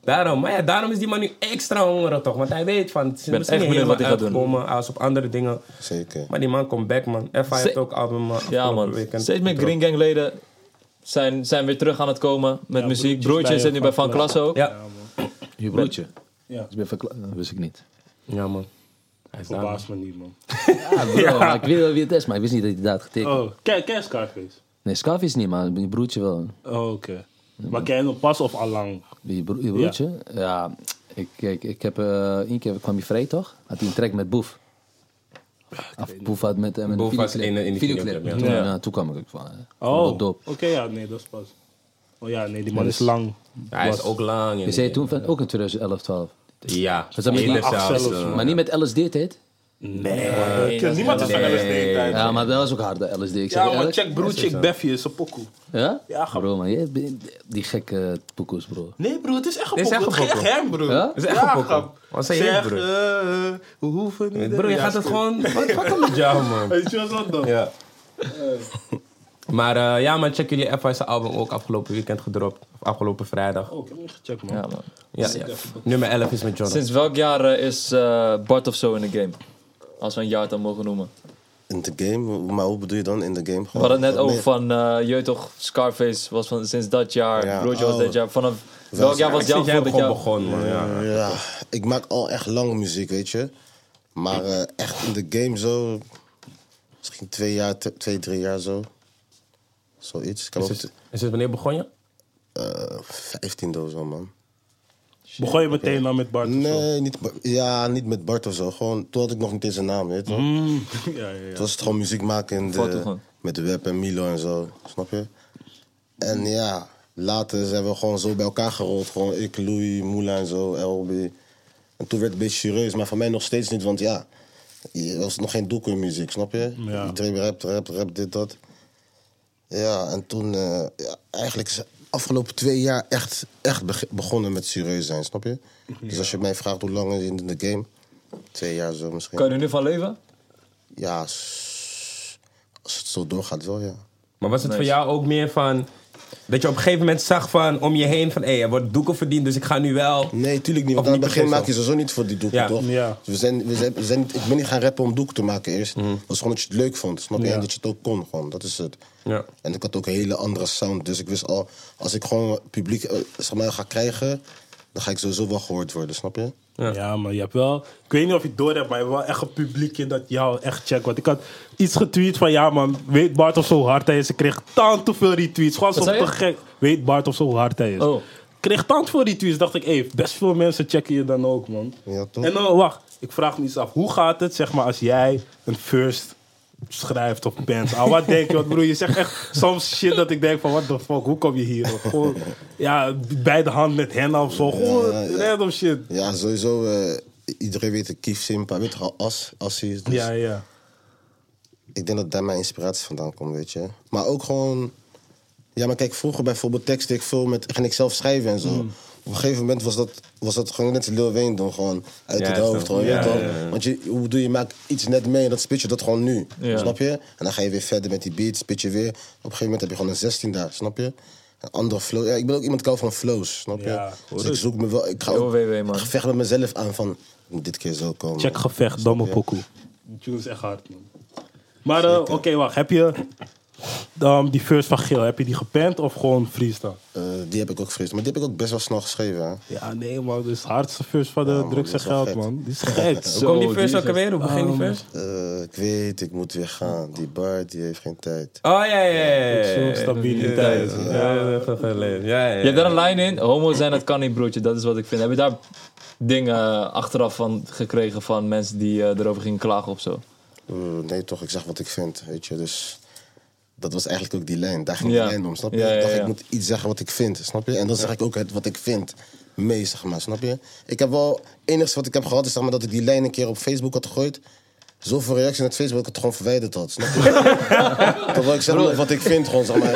Daarom, maar ja, daarom is die man nu extra hongerig toch? Want hij weet van, het is ben misschien echt niet benieuwd helemaal wat hij gaat doen. uitgekomen als op andere dingen. Zeker. Maar die man komt back, man. F.I. heeft ook album eh, Ja, afgelopen man. weekend Steeds meer gedropt. Green Gang leden zijn, zijn weer terug aan het komen met Ja, muziek. broertjes Broertje bij zit nu bij Van Van Klassen ook. Ja. Je broertje. Ja. Dus ik ben verkla- dat wist ik niet. ja, man. Hij is daar, man. verbaast me niet, man. Ah, bro, maar ik weet wel wie het is, maar ik wist niet dat hij daad getekend Oh, ken, ken je Scarface? Nee, Scarface niet, maar je broertje wel. Oh, oké. Maar ken je hem pas of allang? Je, bro- je broertje? Ja. Ik, ik, ik heb eh één keer kwam hij vrij, toch? Had hij een track met Boef. Of Boef had met hem een Boef was videoclip. in- in die videoclip. videoclip, Toen, Ja. ja, toen kwam ik ook van. eh, Oh, wat dope. oké, ja, nee, dat is pas. Oh ja, nee, die man is lang. Ja, hij is ook lang. en- Je zei toen van, ook in 2011, 12. Ja. dat met die Hele acht zelfs, zelfs, eh, Maar niet met LSD, tijd. Nee, niemand is van nee. LSD tijd. Ja, maar dat was ook hard, de LSD. Ik zeg Ja, je maar eerlijk. check broertje, ik Beffy is een pokoe. Ja? Ja, ga- bro, man. jij bent- die gekke poekoes, bro. Nee, broer, het is echt een Dit is pokoe. Het echt een ging pokoe. hem, broer. Ja? Het is echt een pokoe. Wat zei je, zeg, broer? eh, eh, we hoeven niet... Bro, je Ja, gaat het stil. gewoon... Wat fuck hem met jou, man. Weet je wat dan? Ja. Maar eh, ja, man, check jullie FI's album ook afgelopen weekend gedropt. Of afgelopen vrijdag. Oh, ik heb hem gecheckt, man. Ja, man. Ja, ja. Nummer 11 is met John. Sinds welk jaar eh, is eh, Bart of zo in de game? Als we een jaar dan mogen noemen. In de game, maar hoe bedoel je dan in de game? We Gewoon hadden het net wat over meer- van, eh je weet toch, Scarface was van, sinds dat jaar, Ja, Broertje was oh. dat jaar. Vanaf welk jaar was Sinds jouw jij gevoel dat gewoon jou... begonnen, man. Ja. Ja, ik maak al echt lang muziek, weet je. Maar eh, echt in de game zo. Misschien twee jaar, t- twee, drie jaar zo. Zoiets. Ik heb Is ook het- is het wanneer begon je? eh, 15 of zo, man. Begon je meteen dan met Bart? of zo? Nee, niet, Ba- ja, niet met Bart of zo. Gewoon, toen had ik nog niet eens een naam, weet je. wel. Ja, ja, ja. Toen was het gewoon muziek maken in Foto de, gewoon. met de web en Milo en zo, snap je? En ja, later zijn we gewoon zo bij elkaar gerold. Gewoon ik, Louis, Moula en zo, LB. En toen werd het een beetje serieus, maar voor mij nog steeds niet, want ja, er was nog geen doelkoe in muziek, snap je? Ja. Iedereen rapt, rapt, rapt, dit, dat. Ja, en toen eh, ja, eigenlijk is afgelopen twee jaar echt, echt beg- begonnen met serieus zijn, snap je? Dus als je mij vraagt hoe lang is het in de game, twee jaar zo misschien. Kan je er nu van leven? Ja, s- als het zo doorgaat wel, ja. Maar was het voor jou ook meer van... Dat je op een gegeven moment zag van om je heen van... Hé, er wordt doeken verdiend, dus ik ga nu wel... Nee, tuurlijk niet. Of Want aan het niet begin per se maak je sowieso niet voor die doeken, Ja, toch? ja. Dus we zijn, we zijn, we zijn niet- ik ben niet gaan rappen om doeken te maken eerst. Het was gewoon dat je het leuk vond, snap je? Ja. En dat je het ook kon, gewoon. Dat is het. Ja. En ik had ook een hele andere sound. Dus ik wist al, als ik gewoon publiek eh, zeg maar, ga krijgen... dan ga ik sowieso wel gehoord worden, snap je? Ja. maar je hebt wel... Ik weet niet of je het door hebt, maar je hebt wel echt een publiekje dat jou echt checkt. Want ik had iets getweet van... Ja, man, weet Bart of zo hoe hard hij is? Ik kreeg tant te veel retweets. Gewoon zo zei te je? gek. Weet Bart of zo hoe hard hij is? Oh. Ik kreeg tant veel retweets. Dacht ik, hey, best veel mensen checken je dan ook, man. Ja, toch? En dan, wacht. Ik vraag me iets af. Hoe gaat het, zeg maar, als jij een first schrijft of bent? Ah, wat denk je? Want broer, je zegt echt soms shit dat ik denk van... What the fuck, hoe kom je hier? Of gewoon, ja, bij de hand met hen of zo. Gewoon Ja, ja. random shit. Ja, sowieso... eh, iedereen weet dat Kief Simpa, weet je wel, As, Assie is. Dus Ja, ja. ik denk dat daar mijn inspiratie vandaan komt, weet je. Maar ook gewoon... Ja, maar kijk, vroeger bijvoorbeeld tekst ik veel met... ging ik zelf schrijven en zo. Op een gegeven moment was dat, was dat gewoon net Lil Wayne doen, gewoon uit Ja, het is hoofd. dat- Gewoon, je ja, weet toch? ja, ja. Want je, hoe doe je, je maakt iets net mee en dat spit je dat gewoon nu, Ja. snap je? En dan ga je weer verder met die beat, spit je weer. Op een gegeven moment heb je gewoon een 16 daar, snap je? Een andere flow. Ja, ik ben ook iemand kou van flows, snap je? Ja, hoor dus ik zoek me wel... Ik ga Yo, ook- WW, man. ik vecht met mezelf aan van... ik moet dit keer zo komen. Check gevecht, domme pokoe. Die tune is echt hard, man. Maar eh, oké, wacht. Heb je ehm, die first van Geel, heb je die gepand of gewoon freestyle? Eh, die heb ik ook vrees. Maar die heb ik ook best wel snel geschreven, hè? Ja, nee, man. Dit is de hardste first van de dus- man, drugs en dat is wel geld, gek. man. Die is gek. Hoe Oh, kom die die first is ook alweer? Hoe begin die first? Eh, ik weet, ik moet weer gaan. Die bar, die heeft geen tijd. Oh, ja, ja, ja. ja. Zo'n stabiliteit. Ja, ja, ja, ja, ja. Je hebt daar een lijn in. Homo zijn, dat kan niet, broertje. Dat is wat ik vind. Heb je daar dingen eh, achteraf van gekregen van mensen die eh, erover gingen klagen of zo? Eh, nee, toch, ik zeg wat ik vind, weet je. Dus dat was eigenlijk ook die lijn. Daar ging Ja. die lijn om, snap je? Ja, ja, Ik dacht, ja. ik moet iets zeggen wat ik vind, snap je? En dan zeg ik ook het wat ik vind mee, zeg maar, snap je? Ik heb wel, enigszins wat ik heb gehad is zeg maar, dat ik die lijn een keer op Facebook had gegooid. Zoveel reacties op Facebook dat ik het gewoon verwijderd had, snap je? Terwijl ik zeg maar, wat ik vind, gewoon, zeg maar.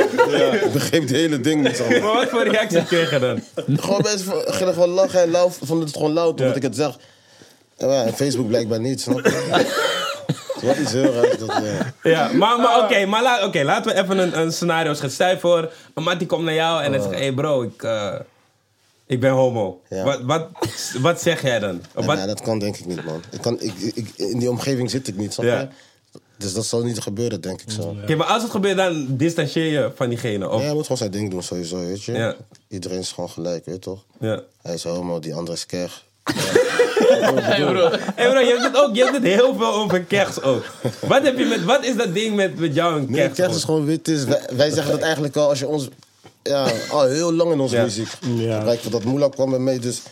Ik begreep het hele ding niet, zeg maar. Maar wat voor reactie kreeg je dan? Gewoon mensen v- gingen gewoon lachen en lauw, vonden het gewoon lauw toen dat ik het zeg. En ja, en Facebook blijkbaar niet, snap je? Wat is heel raar. Dat, eh, ja. Ah. Ja, maar, maar oké, maar la, oké, laten we even een, een scenario schetsen. Stel je voor, een mattie komt naar jou en hij zegt, hé hey bro, ik, eh, ik ben homo. Ah. Ja. Wat, wat, wat zeg jij dan? Of Ja, wat, dat kan denk ik niet, man. Ik kan, ik, ik, in die omgeving zit ik niet, snap je? Ja. Dus dat zal niet gebeuren, denk ik zo. Oké, maar als het gebeurt, dan distancieer je van diegene. Of, Ja, hij moet gewoon zijn ding doen, sowieso, weet je? Ja. Iedereen is gewoon gelijk, weet je toch? ja. Hij is homo, die andere is keg. Hé bro, je hebt het ook, je hebt het heel veel over kers ook. Wat, heb je met, wat is dat ding met, met jou en Nee, kers? keg is gewoon wit. Is. Wij, wij zeggen dat eigenlijk al als je ons. Ja, al heel lang in onze Ja. muziek. Ja. Kijk, dat Moela kwam er mee, dus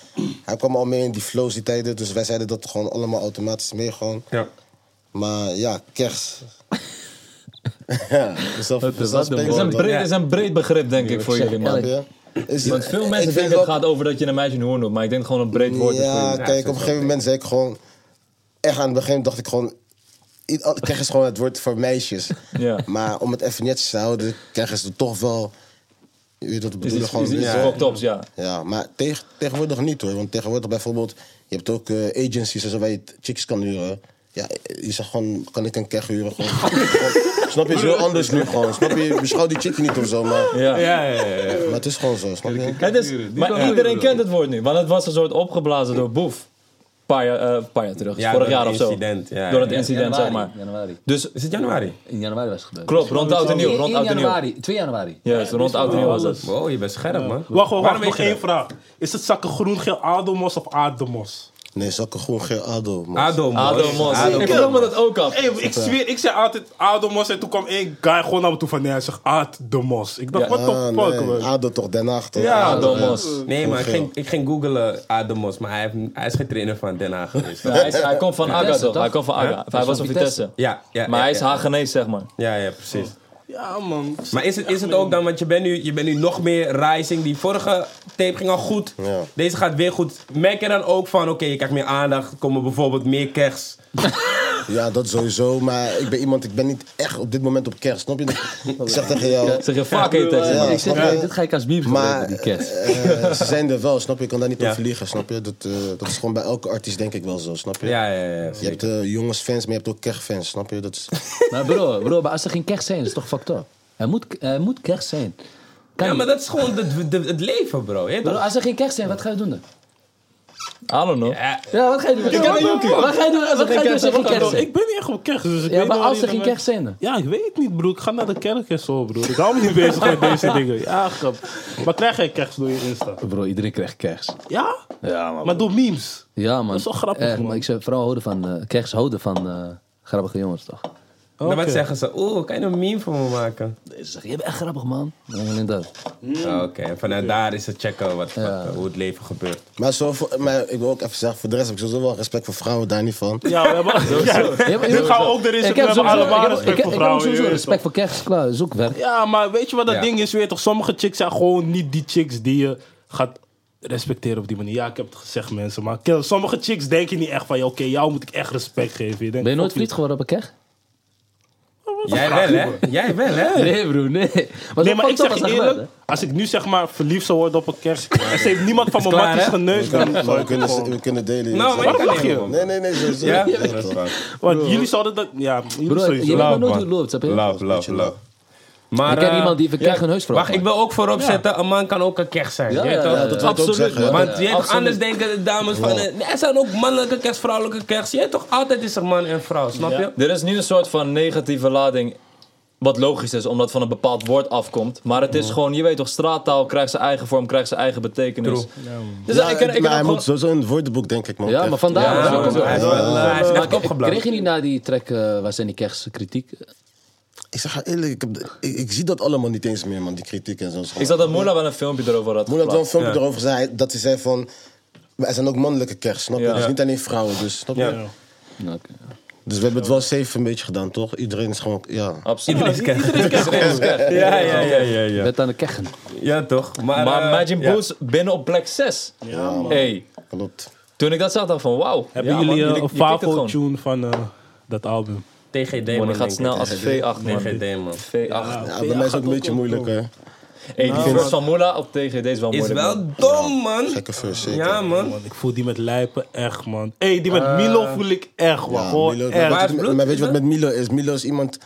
hij kwam al mee in die flows die tijden. Dus wij zeiden dat gewoon allemaal automatisch mee gewoon. Ja. Maar ja, kers. ja, dus dat, Wat- dus wat dat een spreekt woord, Het is een wel, breed, het is een breed begrip, denk ik, voor zeg, jullie, man. ja, snap je? Is- Want veel ik mensen vind denken wel- dat het gaat over dat je een meisje een hoorn noemt, maar ik denk gewoon een breed woord. is voor Ja, jullie. kijk, op een gegeven moment zei ik gewoon... Echt aan het begin dacht ik gewoon... i- al- Keg is gewoon het woord voor meisjes. Ja. Maar om het even netjes te houden, keg is er toch wel... Je weet wat ik Is bedoel? iets, Gewoon, is iets ja. op tops, ja. Ja, maar tegen- tegenwoordig niet hoor. Want tegenwoordig bijvoorbeeld, je hebt ook eh, agencies en zo waar je t- chicks kan huren. Ja, eh, je zegt gewoon, kan ik een keg huren? Gewoon, gewoon- snap je, het is heel anders nu gewoon. Snap je, je beschouwt die chick niet of zo, maar, Ja. Ja, ja, ja, ja. maar het is gewoon zo, snap je? Het is, maar iedereen kent het woord nu, want het was een soort opgeblazen door Boef. Een paar, jaar- eh, een paar jaar terug, Ja, vorig door jaar het of zo. incident, ja, door het ja. incident, zeg maar. Januari. Dus Is het januari? In januari was het gebeurd. klopt, rond oud en nieuw. In- Rond oud en in nieuw. januari, 2 januari. Juist, rond oud en nieuw was het. Wow, je bent scherp man. Wacht, wacht, wacht Waarom weet nog je één dat? vraag. Is het zakken groen, geel, adelmos of aardemos? Nee, zakken gewoon geen ado, man. Ado, man. Ado Mos. Ado, Ik man. vroeg me dat ook af. Hey, ik zweer, ik zei altijd adelmos en toen kwam één guy gewoon naar me toe van nee, hij zegt aardemos. Ik dacht, Ja. wat Ah, de fuck, nee, man. ado toch, Den Haag toch? Ah, Ja, Ado Mos. Nee, maar ik Geel. ging, ik ging googlen Ademos, maar hij, heeft, hij is geen trainer van Den Haag geweest. Ja, hij, is- hij komt van Aga, Vitesse, toch? Hij toch? komt van Aga. Hij was van Vitesse. Ja, ja, Maar ja, hij is ja. Hagenees, zeg maar. Ja, ja, precies. Ja, man. Maar is het, is het ook dan, want je bent, nu, je bent nu nog meer rising. Die vorige tape ging al goed. Ja. Deze gaat weer goed. Merk je dan ook van, oké, je krijgt meer aandacht. Komen bijvoorbeeld meer kers. Ja, dat sowieso, maar ik ben iemand, ik ben niet echt op dit moment op kerst, snap je? Ik zeg tegen jou, Zeg je vaak heet tekst. Ja. ik zeg, snap je? eh, dit ga ik als biebs Maar gebruiken, die kerst. eh, ze zijn er wel, snap je? Je kan daar niet Ja. op vliegen, snap je? Dat, eh, dat is gewoon bij elke artiest denk ik wel zo, snap je? Ja, ja, ja. Je hebt eh, jongensfans, maar je hebt ook kegfans, snap je? Dat is, Maar bro, bro, maar als er geen kerst zijn, is het toch fucked up? Er moet, er moet kerst zijn. Kan Ja, niet. maar dat is gewoon de, de- het leven, bro. Je weet Bro, toch? als er geen kerst zijn, wat ga je doen dan? I don't know. Ja, Ja, wat ga je doen? Wat ga je doen wat ga je doen als er geen kerst zijn? Ik ben niet echt op kerst, dus ik Ja, weet maar nog als er niet geen dat wij- kerst zijn dan? Ja, ik weet het niet, broer. Ik ga naar de kerk en zo, broer. Ik hou me niet bezig met deze dingen. Ja, grap. Maar krijg jij kerst door je Insta? Bro, iedereen krijgt kerst. Ja? Ja, man. Maar door memes. Ja, man. Dat is wel grappig, Erg, man. Maar ik zou vooral houden van, eh, kerst houden van eh, grappige jongens, toch? dan wat Oké. zeggen ze? Oeh, kan je een meme van me maken? Ze zeggen, je bent echt grappig, man. Ja, alleen dat. Ah, Oké, en vanuit daar is het checken wat, wat, Ja. eh, hoe het leven gebeurt. maar, zo, voor- maar ik wil ook even zeggen, voor de rest heb ik sowieso wel respect voor vrouwen, daar niet van. Ja, we hebben... Ja, Ja, maar- nu gaan we ook de rest. Ik We heb hebben sowieso- ik allemaal heb- respect ik- Ik voor heb ook vrouwen. je sowieso weet respect voor toch. kerst, klaar. is ook werk. Ja, maar weet je wat dat Ja. ding is? Weet je toch, sommige chicks zijn gewoon niet die chicks die je gaat respecteren op die manier. Ja, ik heb het gezegd, mensen. Maar kill, sommige chicks denk je niet echt van... ja, Oké, jou moet ik echt respect geven. Je denkt, Ben je nooit fuck vriend geworden op een kerst? Jij wel, hè? Jij wel, hè? Nee, bro, nee. Maar Nee, maar ik zeg je eerlijk, als ik nu zeg maar verliefd zou worden op een kerst en ze heeft niemand van mijn klaar, matties hè? geneukt, dan Maar zou we ik het kunnen, gewoon... we kunnen delen. Nou, maar je Waarom kan lach je? helemaal. Nee, nee, nee, sowieso. Ja? Ja, Dat is toch. waar. Want jullie zouden dat... Ja, jullie Bro, je sowieso. weet Ja, Love, maar nooit hoe man. het loopt, snap je? Love, love, love. Maar, Ik ken eh, iemand die verkeerd een huis Wacht, ik wil ook voorop zetten, een man kan ook een kerst zijn. Ja, je weet ja, toch? ja, dat wil ik ook Absoluut, zeggen. ja. man. Want je weet toch, Absoluut. anders denken de dames van... eh, nee, er zijn ook mannelijke kerst, vrouwelijke kerst. Je weet toch, altijd is er man en vrouw, snap je? Er is nu een soort van negatieve lading. Wat logisch is, omdat het van een bepaald woord afkomt. Maar het Mhm. is gewoon, je weet toch, straattaal krijgt zijn eigen vorm, krijgt zijn eigen betekenis. Dus Ja, ik, ik, ik, maar hij heb moet gewoon- sowieso in het woordenboek, denk ik, man. Ja, Echt. maar vandaar. Ja, daar zo, komt zo. het. Hij is wel- hij is echt opgeblazen. Kreeg je niet na die track, eh, waar zijn die kerstkritiek? Ik zeg je eerlijk, ik, heb de- ik, ik zie dat allemaal niet eens meer, man, die kritiek en zo. ik zat dat Moela wel een filmpje erover had Moeilijk dan een geplaatst. filmpje erover zei, dat hij zei van... maar Er zijn ook mannelijke kerst, snap je? Ja. Dus niet alleen vrouwen, dus snap je? Ja. Nou, Oké. Dus we hebben het wel safe een beetje gedaan, toch? Iedereen is gewoon, ja. Absoluut. Iedereen kent Ja, ja, ja, ja, ja. Werd aan de keggen. Ja, toch? Maar, Maar eh, Imagine ja. Boots binnen op plek 6. Hey, Klopt. toen ik dat zag, dacht ik van wauw. Hebben Ja, man, jullie je- eh, je een kikt het gewoon. favo-tune van eh, dat album? TGD, Man, man. die gaat denk snel ik. als V8, man. TGD, man. V8. Ja, bij mij is het ook een beetje moeilijk, hè? Hey, Nou, die verse van Moela op TGD is wel Is moeilijk. man. wel dom, man. Gekke first zeker. Ja, man. Man, ik voel die met Lijpen echt, man. Hé, hey, die met Milo voel ik echt, man. Ja, Gewoon Milo- echt. Waar is maar, bloed? maar weet je wat met Milo is? Milo is iemand...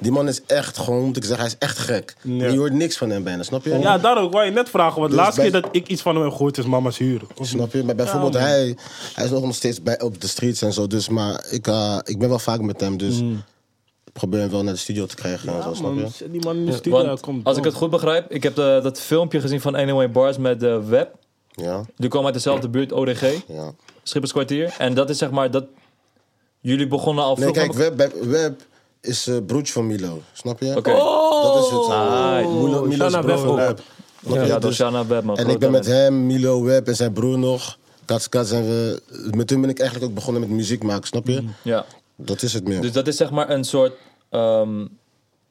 Die man is echt gewoon, moet ik zeggen, hij is echt gek. Je hoort niks van hem bijna, snap je? Ja, daarom. Ik wou je net vragen, want de Dus laatste bij- keer dat ik iets van hem heb gehoord is Mama's Huur. Snap je? Maar bijvoorbeeld, hij, hij is nog nog steeds bij, op de streets en zo. Dus, maar ik, eh, ik ben wel vaak met hem, dus Mm. ik probeer hem wel naar de studio te krijgen en zo, snap Man, je? als die man in de studio Want komt. als ik het goed begrijp, ik heb eh, dat filmpje gezien van Anyway Bars met de Web. Ja, Die kwam uit dezelfde buurt, ODG, ja. Schipperskwartier. En dat is zeg maar dat. Jullie begonnen al Nee, vroeg kijk, met- Web, Web, Web is eh broertje van Milo, snap je? Oké. Dat is het. Ah, Milo, Milo is Shana broer Web van ook. Web. Snap je? Ja, Dus- Doshana Web, man. En ik ben met hem, Milo Web en zijn broer nog. Kats Kats en we... Met hun ben ik eigenlijk ook begonnen met muziek maken, snap je? Ja. Dat is het meer. Mm. Dus dat is zeg maar een soort. ehm,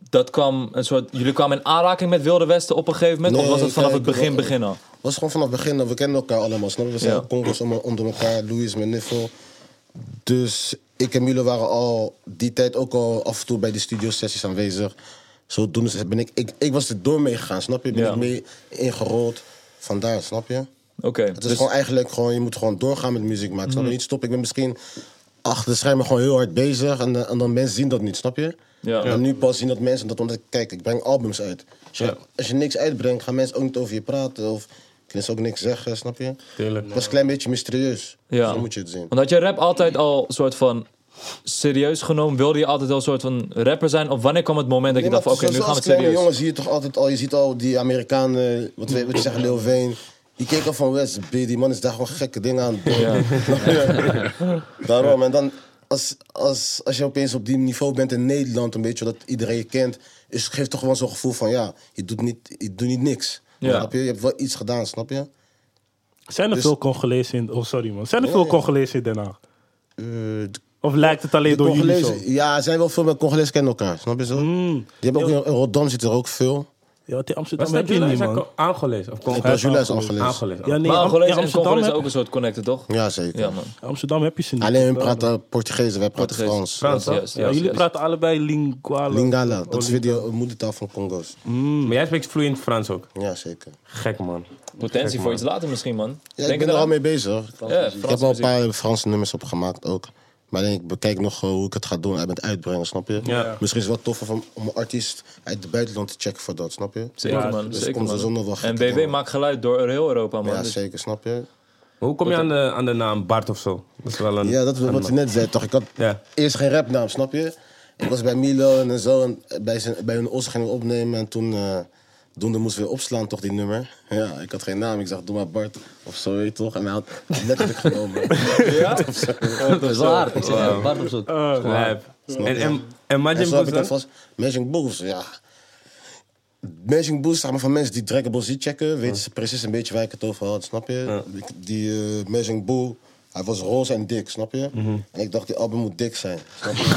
dat kwam een soort. Jullie kwamen in aanraking met Wilde Westen op een gegeven moment? of Nee, was dat vanaf kijk, het begin wa- begin al? was gewoon vanaf het begin, dat we kennen elkaar allemaal, snap je? We zijn Ja. ja. onder, onder elkaar, Louis, mijn niffel. Dus ik en Milo waren al die tijd ook al af en toe bij de studiosessies aanwezig. Zodoende ben ik, ik, ik was er door mee gegaan, snap je? Ben Ja. ik mee ingerold. Vandaar, snap je? Oké. Het is dus, Mm. gewoon eigenlijk gewoon, je moet gewoon doorgaan met muziek maken. Snap je? Niet stoppen. Ik ben misschien achter de schermen gewoon heel hard bezig. En, eh, en dan mensen zien dat niet, snap je? Ja. En nu pas zien dat mensen dat, omdat kijk, ik breng albums uit. Als je, als je niks uitbrengt, gaan mensen ook niet over je praten. Of kunnen ze ook niks zeggen, snap je? Tuurlijk. Het was een klein beetje mysterieus. ja. Zo moet je het zien. Want had je rap altijd al soort van. Serieus genomen, wilde je altijd al soort van rapper zijn? Of wanneer kwam het moment dat je Nee, dacht: van, maar oké, zo- nu gaan we zoals het kleine serieus? jongen zie je toch altijd al, je ziet al die Amerikanen, wat we wat je zeggen, Lil Wayne. Die keek al van West B, die man is daar gewoon gekke dingen aan het doen. Daarom, en dan als, als, als je opeens op die niveau bent in Nederland, een beetje dat iedereen je kent, is, geeft toch wel zo'n gevoel van ja, je doet niet, je doet niet niks. Ja. Snap je? Je hebt wel iets gedaan, snap je? Zijn er Dus- veel Congolezen in... Oh, sorry, man. Zijn er veel Nee. Congolezen in Den Haag? Eh, Of lijkt het alleen De door jullie zo? Congolezen, ja, er zijn wel veel met Congolezen kennen elkaar, snap je zo? Mm. Die hebben ook in in Rotterdam zitten er ook veel. Ja, want in Amsterdam Was heb dat je jullie niet, zijn man. aangelezen? Of Ik Congo? was Julia is Angolees. Aangelezen. Ja, nee, maar Am- Angolezen ja, en Congolezen heb- ook een soort connecten, toch? Ja, zeker. Ja, man. Amsterdam heb je ze niet. Alleen hun praten Portugees, wij praten Portugees. Frans. Frans, toch? Juist, Ja, juist, jullie juist. praten allebei linguale. Lingala, dat is weer de moedertaal van Congo's. Maar jij spreekt vloeiend Frans ook. Ja, zeker. Gek, man. Potentie voor iets later misschien, man. Ja, Denk ik ben er eraan. al mee bezig. Ja, ik heb Franse al een muziek. paar Franse nummers opgemaakt ook. Maar alleen, ik bekijk nog eh, hoe ik het ga doen en het uitbrengen, snap je? Ja. Misschien is het wel toffer om, om een artiest uit het buitenland te checken voor dat, snap je? Zeker, man. dus zeker, komt man. sowieso nog wel en gekke BB dingen. maakt geluid door heel Europa, man. Ja, Dus- zeker, snap je? Maar hoe kom je aan de, aan de naam Bart of zo? Dus Dat is wel een... Ja, dat is wat je net zei, toch? Ik had Ja. eerst geen rapnaam, snap je? Ik was bij Milo en zo, en bij, zijn, bij hun os gingen we opnemen. En toen, eh toen moesten we opslaan, toch, die nummer? Ja, ik had geen naam. Ik zag, doe maar Bart of zo, weet je toch? En hij had letterlijk genomen. Dat is wel hard. Ik zeg, ja, Bart op zoek. Lijp. En, en, en En Majin zo heb ik Boots dat dan? vast. Magic Bulls, ja. Magic Bulls zeg maar van mensen die Dragon Ball Z checken, weten ze precies een beetje waar ik het over had, snap je? Die, die eh, Magic Bull, hij was roze en dik, snap je? Mhm. En ik dacht, die album moet dik zijn, snap je?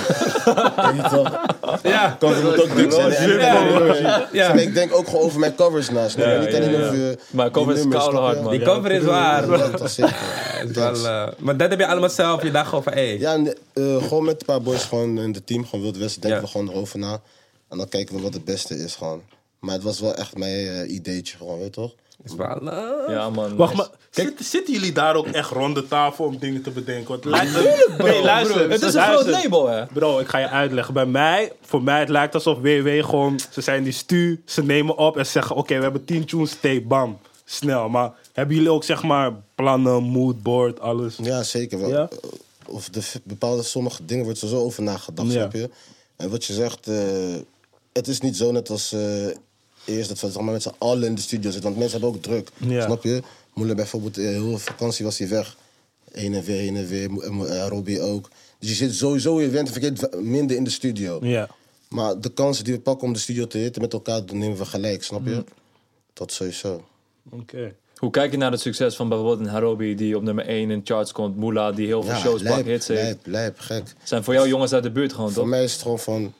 Weet je toch? Ja. Cover moet ook dik zijn. En- Ja. en- Ja. en Ik denk ook gewoon over mijn covers na, snap je? Ja, Niet alleen ja, ja. over eh, Maar die covers is nummers, koude snap je? hard, man. Die cover is waar. Ja, dat is zeker. Het is wel, Thanks. eh, maar dat heb je allemaal zelf. Je dacht gewoon van, hé. Ja, en, eh, gewoon met een paar boys gewoon in het team, gewoon Wild Westen, denken Ja. we gewoon erover na. En dan kijken we wat het beste is gewoon. Maar het was wel echt mijn eh, ideetje gewoon, weet je toch? is wel... eh, Ja, man. Wacht, nice. maar zitten, zitten jullie daar ook echt rond de tafel om dingen te bedenken? Want het lijkt het, nee, luister, Het is een luister. groot label, hè? Bro, ik ga je uitleggen. Bij mij, voor mij, het lijkt alsof WW gewoon... Ze zijn die stu, ze nemen op en ze zeggen... Oké, we hebben 10 tunes, tape, bam. Snel. Maar hebben jullie ook, zeg maar, plannen, moodboard, alles? Ja, zeker wel. Ja? Eh, Of de v- bepaalde sommige dingen wordt er zo over nagedacht, Ja. snap je? En wat je zegt, eh, het is niet zo net als eh, eerst dat we zeg maar, met z'n allen in de studio zitten. Want mensen hebben ook druk, Ja. snap je? Moele bijvoorbeeld, eh, heel de vakantie was hij weg. Heen en weer, heen en weer. Mo- eh, Mo- eh, Robbie ook. Dus je zit sowieso, je bent verkeerd minder in de studio. Ja. Maar de kansen die we Mm. pakken om de studio te hitten met elkaar, dan nemen we gelijk, snap je? Dat sowieso. Oké. Hoe kijk je naar het succes van bijvoorbeeld een Harobi die op nummer 1 in charts komt? Moula die heel veel shows lijp, pakt, hits heeft. lijp, lijp, gek. Zijn voor jou jongens uit de buurt gewoon, Voor toch? mij is het gewoon van...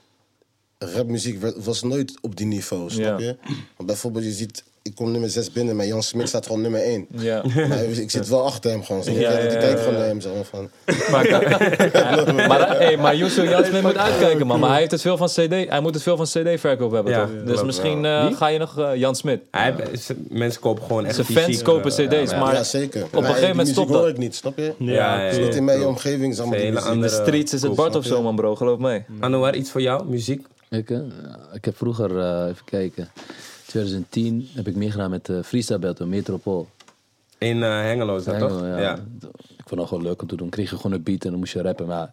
Rapmuziek werd- was nooit op die niveau, snap Ja. je? Want bijvoorbeeld, je ziet... Ik kom nummer 6 binnen, maar Jan Smit staat gewoon nummer 1. Ja. Maar ik zit wel achter hem gewoon. Zeg. Ja, ik ja, ja, kijk ja. gewoon naar hem, zeg maar. Van, Maar, Ja, maar, eh, hey, maar Yusuf Jasmin moet uitkijken, man. Maar hij, heeft het veel van CD, hij moet het veel van CD-verkoop hebben, Ja, toch? Dus klopt, misschien eh, ga je nog eh, Jan Smit. Hij, ze- mensen kopen gewoon echt Zijn fysiek, fans kopen eh, cd's, maar ja, zeker. een gegeven moment stopt dat. hoor ik niet, snap je? Ja, ja, Het is ja, niet in mijn omgeving, zeg maar. Een die hele muziek. in de andere- streets is het cool, Bart of snap zo, je? man, bro. Geloof mij. Anouar, iets voor jou? Muziek? Ik, eh, ik heb vroeger, eh, even kijken, 2010 heb ik meegedaan met eh Freestyle Battle, Metropool. In eh, Hengelo is dat toch? Ja, Ja. Ik vond het gewoon leuk om te doen. Kreeg je gewoon een beat en dan moest je rappen. Maar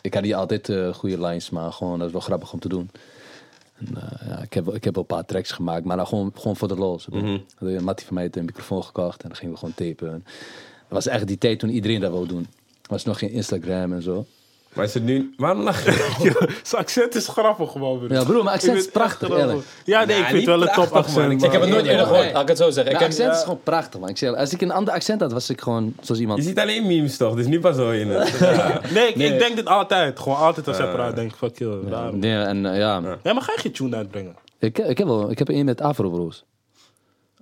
ik had niet altijd eh, goede lines, maar gewoon dat is wel grappig om te doen. En, eh, ja, ik, heb, wel- ik heb wel een paar tracks gemaakt, maar dan gewoon, gewoon voor de lol. snap je? Had een Mattie van mij heeft een microfoon gekocht en dan gingen we gewoon tapen. En dat was echt die tijd toen iedereen dat wou doen. Er was nog geen Instagram en zo. Maar is het nu... Waarom lach je? Zijn accent is grappig gewoon, broer. Ja, broer, mijn accent Ik is vind het prachtig, echt grappig. eerlijk. Ja, nee, Nou, ik vind niet het wel een prachtig, top accent, man. Ik man. Ik heb het nooit eerder gehoord, laat ik het zo zeggen. Ik Mijn heb, accent is gewoon prachtig, man. Ik zeg, als ik een ander accent had, was ik gewoon zoals iemand. Je ziet alleen memes toch? Dus nu pas hoor je het. Ja. Nee, ik, ik denk dit altijd. Gewoon altijd als ik eruit denk, fuck you. raar. Nee, Eh. Ja, en eh, ja, maar ga je geen tune uitbrengen? Ik, ik heb wel, ik heb een met Afro Bros.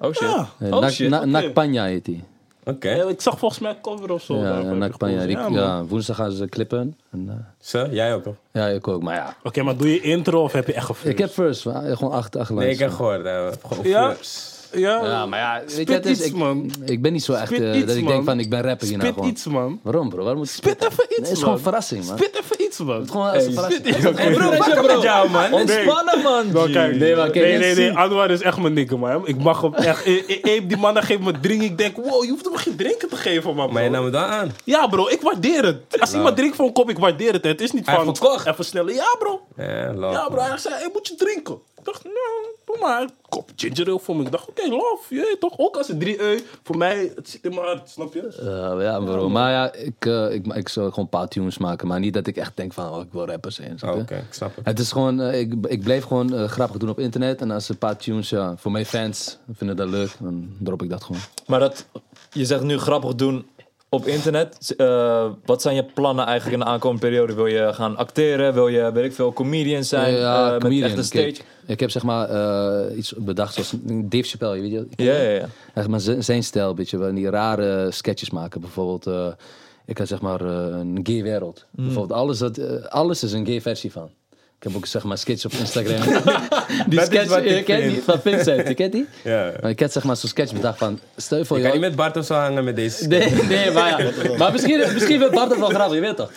Oh shit. Ja. Eh, Oh Nak- shit, Na- oké. Nak Panja heet die. Oké. Ja, ik zag volgens mij een cover of zo. Ja, daarvan, ja, heb Nak ik Panja. gehoord. die- Ja, man. ja, woensdag gaan ze clippen. En, eh, Zo, jij ook toch? ja, ik ook. Maar ja, Oké, maar doe je intro of heb je echt een ik heb first. maar, eh, Gewoon acht, acht Nee, ik lines. heb gehoord. eh, gewoon Ja? flips. Ja, Ja, maar ja, weet Spit je, het is, iets, ik, man. ik ben niet zo echt Spit eh, iets, dat ik man. denk van ik ben rapper hierna Spit gewoon. iets, man. Waarom bro? Waarom moet je Spit even iets, Nee, het is man. gewoon verrassing man. Spit even iets, man. Het is gewoon als een verrassing. Hey, bro, wat is er met jou, man? Ontspannen, man. Nou, kijk, nee, maar kijk, nee, je nee, ziet- Anwar is echt mijn nikke, man. Ik mag hem echt. eh, eh, eh, die man dat geeft me drinken. Ik denk, wow, je hoeft hem geen drinken te geven, man. nou, Maar je bro. nam het wel aan. Ja, bro, ik waardeer het. Als iemand drinkt voor een kop, ik waardeer het. Het is niet Nou. Hij Oh. van. heeft gekocht. Even sneller. Ja, bro. Ja, lol. Ja, bro. Hij zei, hey, moet je drinken? Ik dacht, nou, doe maar. Een kop ginger ale voor me. Ik dacht, oké, love. Je weet toch? Ook als het 3 eu. Voor mij, het zit in mijn hart, snap je? Eh, ja, bro. Maar ja, ik, eh, ik, ik zou gewoon een paar tunes maken. Maar niet dat ik echt denk van, oh, ik wil rapper zijn. snap Oh, je? Oké, ik snap het. Het is gewoon, eh, ik, ik blijf gewoon eh, grappig doen op internet. En als een paar tunes, ja, voor mijn fans vinden dat leuk, dan drop ik dat gewoon. Maar dat, je zegt nu grappig doen op internet. Eh, wat zijn je plannen eigenlijk in de aankomende periode? Wil je gaan acteren? Wil je, weet ik veel, comedian zijn? ja, Eh, met comedian. echte Kijk, stage? ik heb zeg maar eh, iets bedacht zoals Dave Chappelle, je weet je? Ja, ja, ja. Echt maar z- zijn stijl, een beetje, waarin die rare sketches maken. Bijvoorbeeld, eh, ik had zeg maar eh, een gay wereld. Mm. Bijvoorbeeld, alles, dat, eh, alles is een gay versie van. Ik heb ook zeg maar sketches op Instagram. die Dat is sketch, wat ik je kent vind. die van Vincent, je kent die? Ja. Maar ik had zeg maar zo'n sketch bedacht van, stel je voor Ik kan je- niet met Bart of zo hangen met deze. Nee, nee, maar ja. Maar misschien, misschien vindt Bart het wel grappig, je weet toch?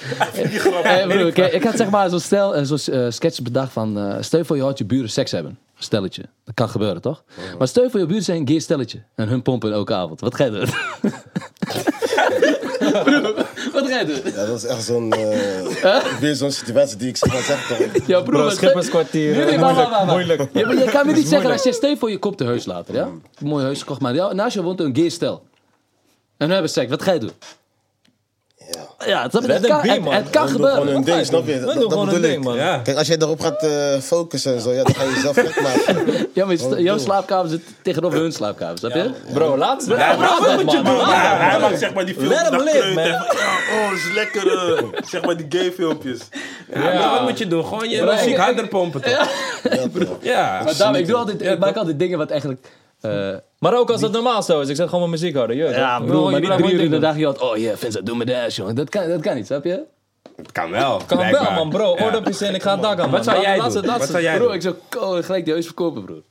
Eh, broer, ik, ik had zeg maar zo'n stel, eh, zo'n eh, sketch bedacht van... eh, stel je voor je had je buren seks hebben. Stelletje. Dat kan gebeuren, toch? Oh. Maar stel je voor je buren zijn een gay stelletje. En hun pompen elke avond. Wat ga je doen? Broer, wat ga je doen? Ja, dat is echt zo'n... eh, Weer zo'n situatie die ik zeg maar zeg toch. Ja, broer, Bro, wat- schipperskwartier. Nee, nee, eh, maar, maar, moeilijk, maar, maar. moeilijk. Ja, maar je kan me niet zeggen dat je stel je voor je kop te huis later, ja? Mooi huis gekocht, maar jou- naast je woont een gay stel. En hun hebben seks. Wat ga je doen? Ja. Ja, het, het, and kan, be, het- man. het kan Hun doen gewoon gebeuren. hun ding, snap je? We Dat, doen dat gewoon een bedoel ik. ding, man. Ja. Kijk, als jij daarop gaat eh, focussen en zo, ja, dan ga je jezelf gek maken. Ja, maar je sta- jouw slaapkamer zit tegenover hun slaapkamer, snap je? Bro, laat het. Ja, Wat moet je doen? man. Ja, hij maakt zeg maar die filmpjes. Let hem dat live, kleuter. Ja, Oh, is lekker. eh, Zeg maar die gay filmpjes. Ja, maar wat moet je doen? Gewoon je Bro, muziek ik- harder pompen toch? Ja, bro. Ja. Maar daarom, ik, doe altijd, ik maak altijd dingen wat eigenlijk... eh Maar ook als dat normaal zo is. Ik zet gewoon mijn muziek houden. jeugd. ja, Ik broer, bedoel, maar je niet blijft drie uur in de gewoon dag, je had, oh yeah, Vincent, doe me dash, jongen. Dat kan, dat kan niet, snap je? Het kan wel. Kan wel, blijkbaar. man, bro. Ja. Oordopjes in, ik ga het dak aan. Wat zou jij doen? Dat Wat zou jij Bro, doen? ik zou oh, gelijk die huis verkopen, broer.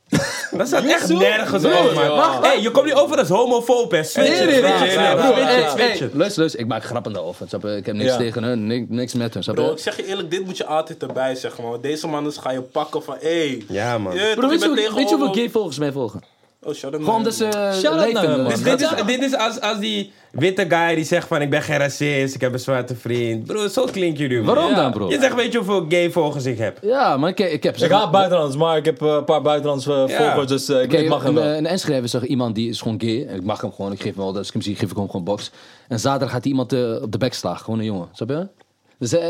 Dat staat echt nergens over, man. Wacht, hey, je komt niet over als homofoob, hè? Switch Nee, it, nee, nee, switch it, nee, nee, broer, switch hey, it, switch hey, it. Luister, luister, ik maak grappen daarover, snap je? Ik heb niks Ja. tegen hun, ni- niks met hun, snap Bro, ik je? zeg je eerlijk, dit moet je altijd erbij zeggen, man. Want Deze mannen ga je pakken van, hé. Hey, Ja, man. je- Bro, je weet je, bent hoe- tegen weet je hoeveel homo. gay volgers mij volgen? Oh, shout out Gewoon naar- omdat ze Shout-out naar leven, hem, man. man. Dus Dit Dat- is, dit is als, als die witte guy die zegt van ik ben geen racist, ik heb een zwarte vriend. Bro, zo klinkt jullie. man. Waarom dan, bro? Je zegt weet je hoeveel gay volgers ik heb. Ja, maar ik, ik heb... Ik haat buitenlands, maar ik heb eh, een paar buitenlandse eh, Ja. volgers, dus eh, ik Kijk, ik mag hem een, wel. een Enschede is er iemand die is gewoon gay. En ik mag hem gewoon, ik geef hem wel, dat ik hem zie, geef ik hem gewoon box. En zaterdag gaat hij iemand eh, op de bek slagen, gewoon een jongen. Snap je? Dus eh,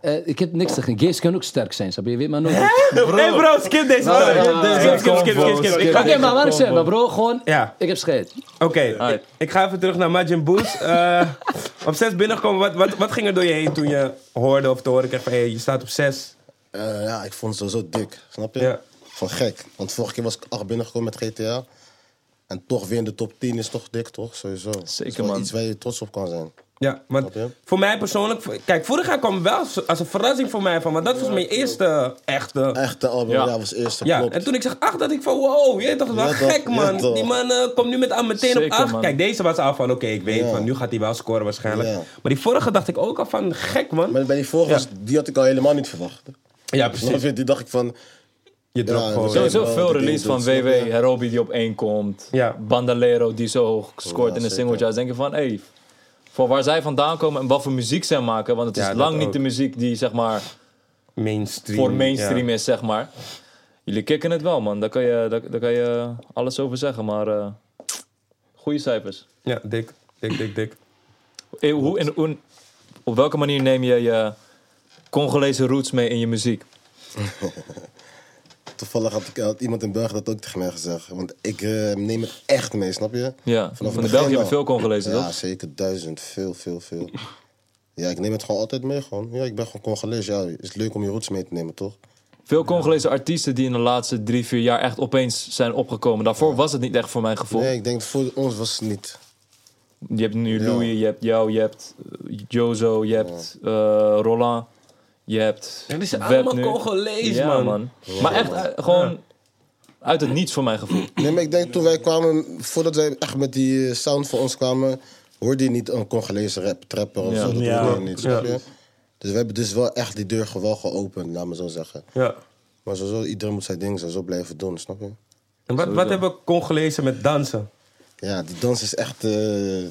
eh, ik heb niks tegen. Gays kunnen ook sterk zijn, snap je? Je weet maar nooit. Hey bro, skip deze. Nou, man. ja, ja, Skip, ja, skip, skip, skip, skip. Ik Oké, ga- maar wat ik zeg, maar bro, gewoon... Ja. Ik heb scheet. Oké, ik, ik ga even terug naar Majin Boos. Eh, op 6 binnengekomen, wat, wat, wat ging er door je heen toen je hoorde of te horen kreeg van hey, je staat op 6? Eh, ja, ik vond het sowieso dik, snap je? Ja. Van gek. Want vorige keer was ik acht binnengekomen met GTA. En toch weer in de top 10 is toch dik, toch? Sowieso. Zeker, Is wel man. iets waar je trots op kan zijn. Ja, want Snap je? voor mij persoonlijk, kijk, vorig jaar kwam wel als- als een verrassing voor mij van, want dat was mijn eerste eh, echte. Echte album, Ja. ja, was eerste, Ja, klopt. en toen ik zag 8, dat ik van wow, je toch wel Ja, toch, gek ja, man. toch. Die man eh, komt nu met aan meteen op Zeker, 8. man. Kijk, deze was al van oké, ik weet Ja. van nu gaat hij wel scoren waarschijnlijk. Ja. Maar die vorige dacht ik ook al van gek man. Maar bij die vorige, was- die had ik al helemaal niet verwacht. ja, Snap precies. je? Die dacht ik van... Je dropt Ja, gewoon. zo- Sowieso Ja, veel die dus release ding doet, van snap WW, je? Herobi die op één komt. Ja. Bandalero die zo hoog scoort Ja, in de zeker. singeltje. Dus denk je van, hey, voor waar zij vandaan komen en wat voor muziek zij maken. Want het is Ja, dat lang ook. niet de muziek die, zeg maar, Mainstream. voor mainstream ja. is, zeg maar. Jullie kicken het wel, man. Daar kan je, daar, daar kan je alles over zeggen, maar eh goede cijfers. Ja, dik, dik, dik, dik. Eh, hoe, en, hoe- op welke manier neem je je Congolese roots mee in je muziek? Toevallig had, ik, had iemand in België dat ook tegen mij gezegd. Want ik eh, neem het echt mee, snap je? Ja, Vanaf van de het België begin hebben veel al. Congolezen, Ja, toch? zeker. Duizend. Veel, veel, veel. Ja, ik neem het gewoon altijd mee, gewoon. Ja, ik ben gewoon Congolees. Ja, het is leuk om je roots mee te nemen, toch? Veel Congolese artiesten die in de laatste drie, vier jaar echt opeens zijn opgekomen. Daarvoor was het niet echt voor mijn gevoel. Nee, ik denk voor ons was het niet. Je hebt nu Ja. Louis, je hebt jou, je hebt eh, Jozo, je hebt eh, Roland, je hebt En die zijn Web allemaal nu. Congolees, Ja, man. Maar echt eh, gewoon uit het niets voor mijn gevoel. Nee, maar ik denk toen wij kwamen, voordat wij echt met die eh, sound voor ons kwamen, hoorde je niet een Congolese rap, trapper of Ja. zo. Dat Ja. hoorde je niet, snap je? Ja. Dus we hebben dus wel echt die deur gewoon geopend, laat me zo zeggen. Ja. Maar sowieso, iedereen moet zijn ding sowieso blijven doen, snap je? En wat, wat hebben Congolezen met dansen? Ja, die dans is echt, eh,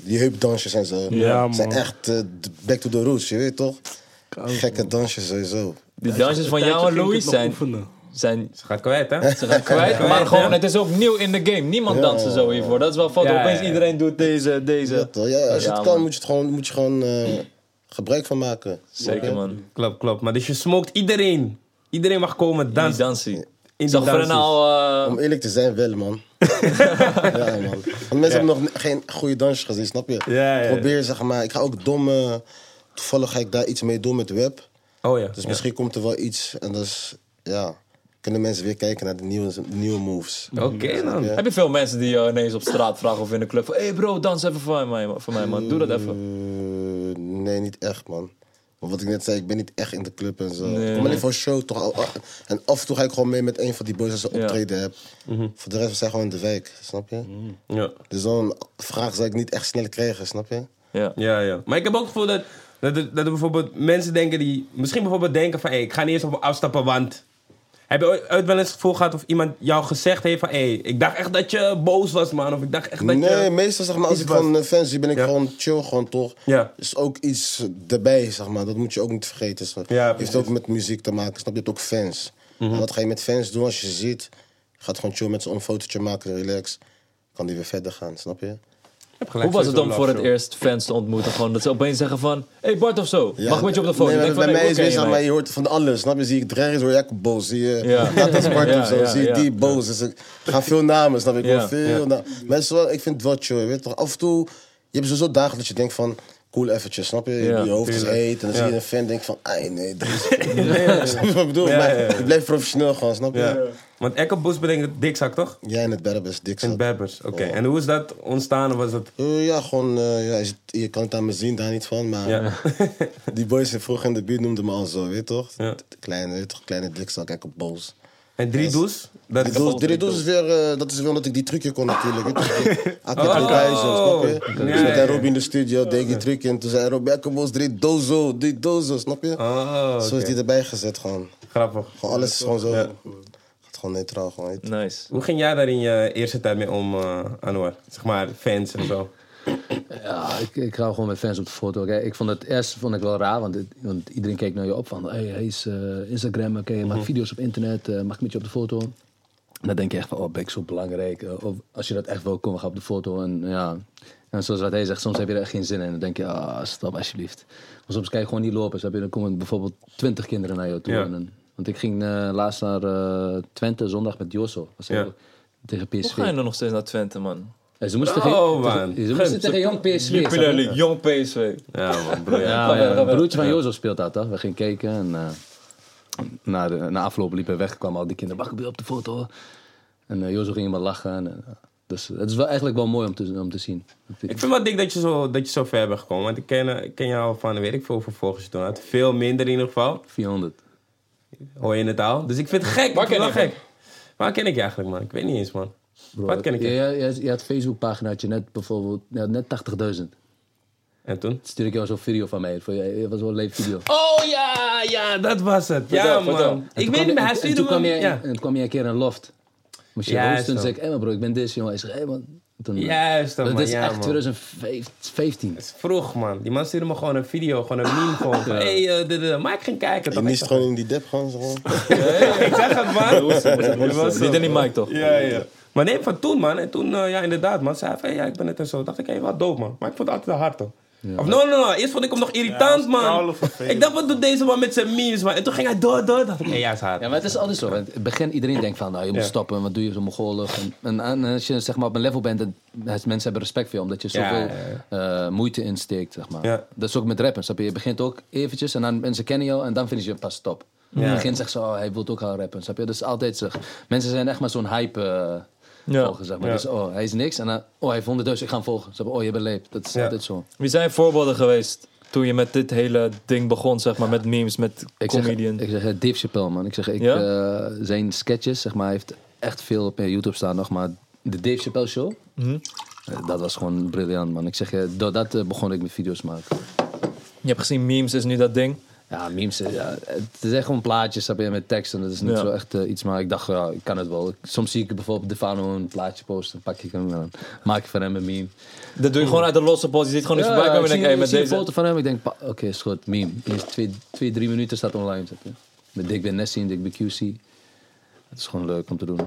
die heupdansjes en zo. Ja, man. Zijn echt eh, back to the roots, je weet toch? Gekke dansjes sowieso. Die dansjes van Een tijdje jou en ging ik Louis het nog zijn, oefenen. zijn Ze gaat kwijt, hè? Ze gaat kwijt, maar gewoon, het is ook nieuw in de game. Niemand danst er zo hiervoor. Dat is wel fout. Ja, ja, Opeens ja. iedereen doet deze, Ja, deze. toch? ja, als je Ja, het kan, man. moet je, het gewoon, moet je gewoon eh, gebruik van maken. Zeker, man. Klopt, klopt. Maar dus je smoked iedereen. Iedereen mag komen Dan dansen. dansie. die Zag dansies. Frenna al... eh, Om eerlijk te zijn, wel, man. ja, man. Want mensen hebben nog geen goede dansjes gezien, snap je? Ja, ja. Probeer, zeg maar. Ik ga ook domme... Toevallig ga ik daar iets mee doen met web. Oh ja. Dus misschien komt er wel iets. En dus, ja... Kunnen mensen weer kijken naar de nieuwe, nieuwe moves. Oké dan. Ja. Heb je veel mensen die jou ineens op straat vragen of in de club van... hey bro, dans even voor mij, voor mij man. Doe dat Mm. even. Eh, nee, niet echt, man. Want wat ik net zei, ik ben niet echt in de club en zo. Nee. ik kom alleen voor een show toch. al- al- En af en toe ga ik gewoon mee met een van die boys als ze Ja. optreden hebben. Voor de rest, we zijn gewoon in de wijk, snap je? Mhm. Ja. Dus zo'n vraag zou ik niet echt snel krijgen, snap je? Ja. ja, ja. Maar ik heb ook het gevoel dat, dat, er, dat er bijvoorbeeld mensen denken die... Misschien bijvoorbeeld denken van... Hey, ik ga niet eens op afstappen, want... Heb je ooit, ooit wel eens het gevoel gehad of iemand jou gezegd heeft van... Hey, ik dacht echt dat je boos was, man. Of ik dacht echt dat nee, je... meestal zeg maar, als iets ik was. van eh, fans zie, ben ik Ja. gewoon chill, gewoon toch. Ja. Is ook iets erbij, zeg maar. Dat moet je ook niet vergeten. Zeg. Ja, Heeft precies. Mhm. ook met muziek te maken, snap je? Je hebt ook fans. En wat ga je met fans doen als je ze ziet? Je gaat gewoon chill met ze een fotootje maken, relax. Kan die weer verder gaan, snap je? Hoe was het om voor het eerst fans te ontmoeten? Gewoon dat ze opeens zeggen van... hey Bart of zo, mag ik met je op de foto? Nee, maar Ik denk bij van, mij is hey, hoe het ken je zeg maar, mij? je hoort van alles, snap je? Zie ik Drerris, hoor ik boos. Zie je Ja. Tatas Bart Ja, of zo, ja, zie je ja. die boos. Dus ik ga veel namen, snap je? Ik Ja, hoor veel ja. namen. Mensen, wel, ik vind het wel chill, je weet toch? Af en toe, je hebt sowieso dagen dat je denkt van... Cool eventjes, snap je? Ja, je hoofd is tuurlijk. heet en dan zie je een fan en denk van... Ai, nee, dat is... Snap je wat ik bedoel? Ja, maar ja, ja. ik blijf professioneel gewoon, snap je? Ja. Want Ekkelboes bedenkt dikzak, toch? Jij en het Berber is dik, En zat. Berbers, oké. En hoe is dat ontstaan? Of Was dat... Eh, ja, gewoon, eh, ja, je, ziet- je kan het aan me zien, daar niet van, maar Ja. die boys in vroeg in de buurt noemden me al zo, weet je toch? Ja. Kleine, weet je toch? Kleine dikzak, kijk op boos. En drie does? Dat Die doos, die doos is weer, eh, dat is weer omdat ik die trucje kon natuurlijk. weet je. Had met Oh. Robijn zo, snap je? Ja, Dus met ja, ja. Robin in de studio deed ik die trucje en toen zei Robin, kom ons drie dozo, drie dozo, snap je? Oh, Zo is die erbij gezet gewoon. grappig. Gewoon alles is gewoon zo, gaat gewoon neutraal gewoon. weet je. Nice. Hoe ging jij daar in je eerste tijd mee om, eh Anwar? Zeg maar, fans en zo. Ja, Ah, ik, ik hou gewoon met fans op de foto. Kijk, ik vond het eerst vond ik wel raar, want, het- want iedereen Mhm. keek naar je op van... Hey, hij is eh, Instagram, oké, maakt video's op internet, eh, mag ik met je op de foto? Dan denk je echt van, oh, ben ik zo belangrijk? Eh, Of als je dat echt wil, kom, we gaan op de foto. En ja, en zoals wat hij zegt, soms heb je er echt geen zin in. Dan denk je, ah, stop alsjeblieft. Maar soms kan je gewoon niet lopen. Dus heb je- dan komen bijvoorbeeld twintig kinderen naar jou toe. Ja. En dan- want ik ging eh, laatst naar eh, Twente, zondag met Josso. Was Ja. heel- Tegen Hoe ga je PSV. dan nog steeds naar Twente, man? En ze moesten, Oh, tegen- man. ze moesten tegen jong PSV. snap je? Jupiler League, jong PSV. Ja, man, broer. ja. Ja, ja, Ga verder, ga een verder. broertje van Jozo speelt dat, toch? We gingen kijken en eh, na, de, na afloop liepen we weg. kwamen al die kinderen, wacht, ben je op de foto? En eh, Jozo ging maar lachen. En, eh, dus het is wel, eigenlijk wel mooi om te, om te zien. Ik vind wel dik dat je zo, dat je zo ver bent gekomen. Want ik ken, eh, ik ken jou van, weet ik veel, vervolgens toen had. Veel minder in ieder geval. 400. Hoor je het al? Dus ik vind het gek. Waar ik vind ken het ik wel gek. Waar ken ik je eigenlijk, man? Ik weet niet eens, man. Wat ken ik je? je? Je, je, je had Facebookpagina, had je net bijvoorbeeld ja, net 80.000. En toen? Stuurde ik jou zo'n video van mij. Dat vond je- dat was wel een leuk video. Oh ja, ja, dat was het. Ja, Vertel, man. vertel. En En Ik toen weet kwam niet, je- maar hij en- en stuurde toen kwam me... jij- Ja. En toen kwam je een keer in een loft. Moest je Juist, hosten. Toen man. zei ik, hé maar bro, ik ben dit, jongen. Hij zei, hé man. Toen, eh, Juist, man. Dat is ja, echt man. 2015. Het is vroeg, man. Die man stuurde me gewoon een video, gewoon een meme. Gewoon van, hey, eh, dit, dit. maar ik ging kijken. Je toch? mist gewoon in die dep gewoon. zo gewoon. Ik zeg het, man. Dat was zo, Niet in die man. mic, toch? Ja, ja. Maar nee, van toen, man. En toen, eh, ja, inderdaad, man. Zei hij van, hey, ja, ik ben het en zo. Dacht ik, hé, wat doof, man. Maar ik vond het altijd hard, toch. Of, no, no, no. Eerst vond ik hem nog irritant, Ja, man. koude vervelend. Ik dacht, wat doet deze man met zijn memes, man? En toen ging hij door, door. Dacht ik, hé, ja, is hard. Ja, maar het is altijd zo. Want In het begin, iedereen denkt van, nou, je moet Ja. stoppen. Wat doe je zo mongolig? En, en, en als je zeg maar, op een level bent, dan mensen hebben respect voor je. Omdat je Ja, zoveel eh, moeite insteekt, zeg maar. Ja. Dat is ook met rappen, snap je? Je begint ook eventjes en dan mensen kennen jou en dan vinden ze je pas top. In het begin zegt ze, oh, hij wil ook gaan rappen, snap je? Dat is altijd zo. Mensen zijn echt maar zo'n hype eh, Ja. volgen, zeg maar. Ja. Dus, oh, hij is niks. En dan, oh, hij vond het dus, ik ga hem volgen. Snap je? Oh, je bent leep. Dat is Ja. altijd zo. Wie zijn voorbeelden geweest toen je met dit hele ding begon, zeg maar, met memes, met Ik zeg, comedian? ik zeg eh, Dave Chappelle, man. Ik zeg, ik, Ja? eh, zijn sketches, zeg maar, hij heeft echt veel op eh, YouTube staan nog, maar de Dave Chappelle Show, Mhm. eh, dat was gewoon briljant, man. Ik zeg, eh, doordat eh, begon ik met video's maken. Je hebt gezien, memes is nu dat ding. Ja, memes, eh, ja, het is echt gewoon plaatjes, snap je, met tekst en dat is niet Ja. zo echt eh, iets, maar ik dacht, ja, ik kan het wel. Ik- Soms zie ik bijvoorbeeld Defano een plaatje posten, pak ik hem en dan maak ik van hem een meme. Dat doe je gewoon uit de losse post. Je ziet gewoon iets voorbij komen en ik denk, hé, met zie een deze... foto van hem, ik denk, pa- oké, is goed, meme. Eerst twee, twee, drie minuten staat online. Zet, met Dick Ben Nessie en Dick BQC. Het is gewoon leuk om te doen.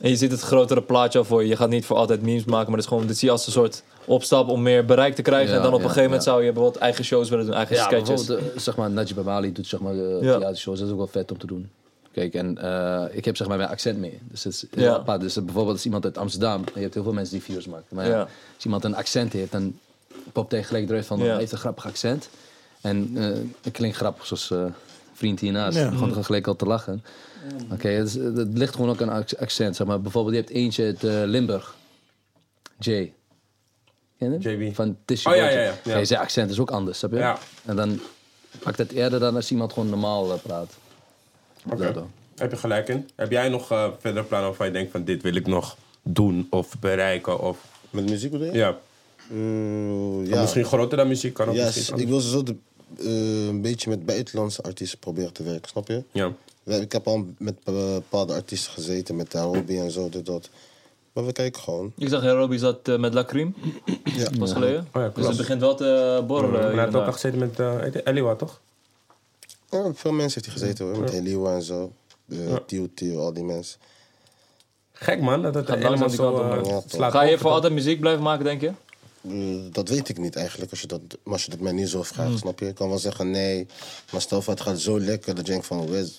En je ziet het grotere plaatje al voor je. Je gaat niet voor altijd memes maken, maar dit, is gewoon, dit zie je als een soort opstap om meer bereik te krijgen. Ja, en dan op een ja, gegeven moment ja. zou je bijvoorbeeld eigen shows willen doen, eigen sketches. bijvoorbeeld, eh, zeg maar, Najib Amali doet zeg maar, de Ja. theatershows. Dat is ook wel vet om te doen. Kijk, en eh, ik heb zeg maar mijn accent mee. Dus het is heel Ja. apart. Dus eh, bijvoorbeeld als iemand uit Amsterdam... Je hebt heel veel mensen die video's maken. Maar ja, Ja. als iemand een accent heeft, dan popt hij gelijk eruit van... Ja. oh, hij heeft een grappig accent. En eh, het klinkt grappig, zoals eh, vriend hiernaast. Gewoon gelijk al te lachen. Oké, het, is- het ligt gewoon ook aan ac- accent. Zeg maar. Bijvoorbeeld, je hebt eentje uit eh, Limburg. Jay. Ken je hem? JB. Van Tissue Oh, ja, Boytje. ja, ja. Ja, zijn accent is ook anders, snap je? Ja. En dan pakt het eerder dan als iemand gewoon normaal eh, praat. Oké. Daardoor. Heb je gelijk in. Heb jij nog eh verder plannen waarvan je denkt van dit wil ik nog doen of bereiken of... Met muziek bedoel je? Ja, Mm, ja. misschien groter dan muziek kan ook Ja, misschien s- anders. ik wil zo de, eh, een beetje met buitenlandse artiesten proberen te werken, snap je? Ja. We- Ik heb al met eh, bepaalde artiesten gezeten, met Robbie en zo, dit, dat. Maar we kijken gewoon. Ik zag Robbie zat eh, met Lacrim, Ja. pas geleden. ja, dus klopt. Mm, het begint wel te borrelen. Hij hier en had ook daar. al gezeten met eh, heet die Eliwa, toch? Ja, veel mensen heeft hij gezeten hoor, met Eliwa en zo. eh, De Tio Tio, al die mensen. Gek man, dat het Gaat helemaal langzaam die zo kant op, eh, man. slaat Ga je over, voor toch? altijd muziek blijven maken, denk je? Eh, dat weet ik niet eigenlijk, als je dat, maar als je dat mij nu zo vraagt, snap je? Ik kan wel zeggen nee, maar stel voor het gaat zo lekker dat je denkt van, wes.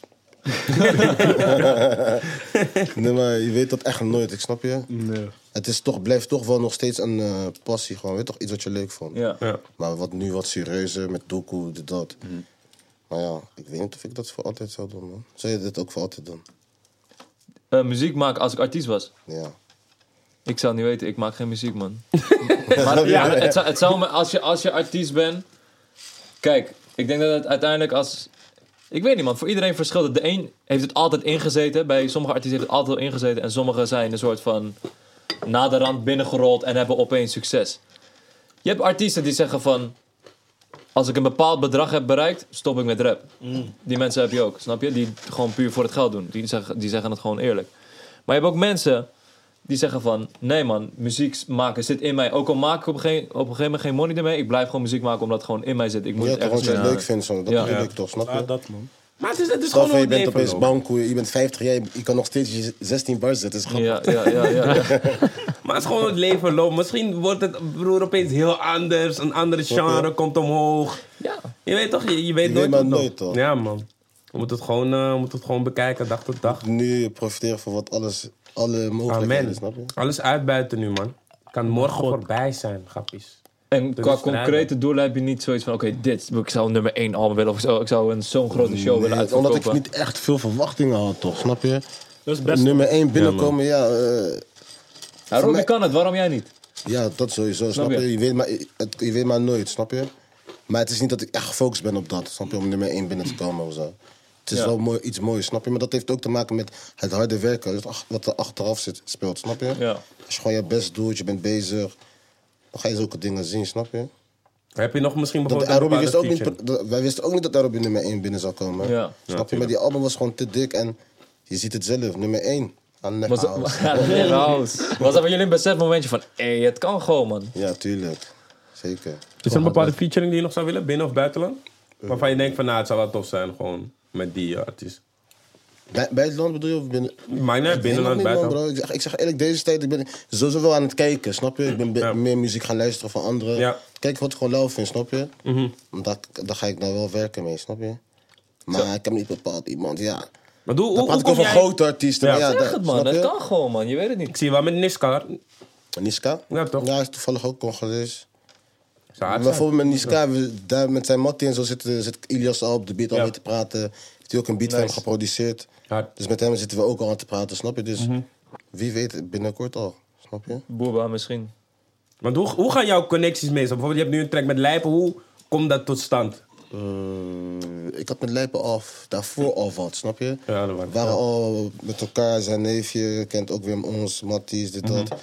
nee, maar je weet dat echt nooit, ik snap je? Nee. Het is toch, blijft toch wel nog steeds een eh, passie, gewoon, weet toch, iets wat je leuk vond. Ja. Ja. Maar wat nu wat serieuzer met doku, dit, dat. Mhm. Maar ja, ik weet niet of ik dat voor altijd zou doen, man. Zou je dit ook voor altijd doen? Eh, muziek maken als ik artiest was. Ja. Ik zou het niet weten, ik maak geen muziek, man. maar ja, het zou, het zou me, als, je, als je artiest bent. Kijk, ik denk dat het uiteindelijk als. Ik weet niet, man. Voor iedereen verschilt het. De een heeft het altijd ingezeten. Bij sommige artiesten heeft het altijd al ingezeten. En sommigen zijn een soort van. na de rand binnengerold en hebben opeens succes. Je hebt artiesten die zeggen van. Als ik een bepaald bedrag heb bereikt, stop ik met rap. Die mensen heb je ook, snap je? Die het gewoon puur voor het geld doen. Die zeggen, die zeggen het gewoon eerlijk. Maar je hebt ook mensen die zeggen van... Nee man, muziek maken zit in mij. Ook al maak ik op een gegeven, op een gegeven moment geen money ermee... ik blijf gewoon muziek maken omdat het gewoon in mij zit. Ik moet Ja, het toch, want ergens je het mee- leuk vindt, zo. dat Ja. bedoel Ja. ik toch, snap je? dat man. Maar het is, het is gewoon Of hoe je het bent leven opeens loopt. bankoe, je bent 50 jaar, je kan nog steeds je 16 bars zetten. is grappig. Ja, ja, ja, ja. ja. Maar het is gewoon hoe het leven loopt. Misschien wordt het broer opeens heel anders. Een andere genre komt omhoog. Ja. Je weet toch? Je, je weet Je nooit weet maar hoe het nooit, loopt. toch? Ja, man. We moeten het gewoon, eh, we moeten het gewoon bekijken, dag tot dag. Nu profiteren van wat alles, alle mogelijkheden, Amen. snap je? Alles uitbuiten nu, man. Kan morgen voorbij zijn, grappies. En Dat qua is vrijdag. concrete doelen heb je niet zoiets van... Oké, dit, ik zou nummer één album willen. Of ik zou, ik zou een- zo'n grote show willen Mm. Nee, omdat uitverkopen. ik niet echt veel verwachtingen had, toch? Snap je? Dat is best. Nummer 1 binnenkomen, ja. eh, Ja, Robbie Voor mij- kan het, waarom jij niet? Ja, dat sowieso, snap je? je? Je weet, maar, het- je weet maar nooit, snap je? Maar het is niet dat ik echt gefocust ben op dat, snap je? Om nummer 1 binnen te komen of zo. Het is Ja. wel mooi, iets moois, snap je? Maar dat heeft ook te maken met het harde werken, het ach- wat er achteraf zit, speelt, snap je? Ja. Als je gewoon je best doet, je bent bezig, dan ga je zulke dingen zien, snap je? Heb je nog misschien Dat, bijvoorbeeld en Robbie wist ook bepaalde niet, feature? dat- wij wisten ook niet dat Robbie nummer 1 binnen zou komen. Ja. snap je? Maar die album was gewoon te dik en je ziet het zelf, nummer 1. Aan nek Was, aan. ja, net house. was dat bij jullie een besef momentje van... Hé, het kan gewoon, man. Ja, tuurlijk. Zeker. Is er een bepaalde featuring die je nog zou willen, binnen of buitenland? Eh. Waarvan je denkt van, nou, het zou wel tof zijn, gewoon met die eh, artiest. Bij, bij het land bedoel je of binnen? Maakt niet uit, binnenland, Helemaal niet, buitenland. man, bro. Ik zeg, ik zeg eerlijk, deze tijd ik ben sowieso wel aan het kijken, snap je? Ik ben be- Ja. meer muziek gaan luisteren van anderen. Ja. Mhm. Kijk wat ik gewoon lauw vind, snap je? Want daar, daar ga ik nou wel werken mee, snap je? Maar ik heb niet bepaald iemand, ja. Maar hoe, Dan hoe, praat hoe ik kom over jij... grote artiesten. Ja. maar Ja, Zeg daar- het, man. snap Het je? kan gewoon, man. Je weet het niet. Ik zie wel met Niskar. Niska? Ja, toch? Ja, hij is toevallig ook Congolees. Zou Maar hard zijn. bijvoorbeeld met Niska, we- daar met zijn mattie en zo zit, zit Ilias al op de beat al Ja. mee te praten. Heeft hij ook een beat van hem Nice. geproduceerd. Hard. Dus met hem zitten we ook al aan te praten, snap je? Dus Mhm. wie weet binnenkort al, snap je? Booba misschien. Want hoe, hoe gaan jouw connecties mee? Zo, Bijvoorbeeld, je hebt nu een track met Lijpen. Hoe komt dat tot stand? Eh, ik had met Lijpen af, daarvoor al wat, snap je? Ja, dat we waren- waren al met elkaar, zijn neefje kent ook weer ons, Matties, dit, dat. Mhm.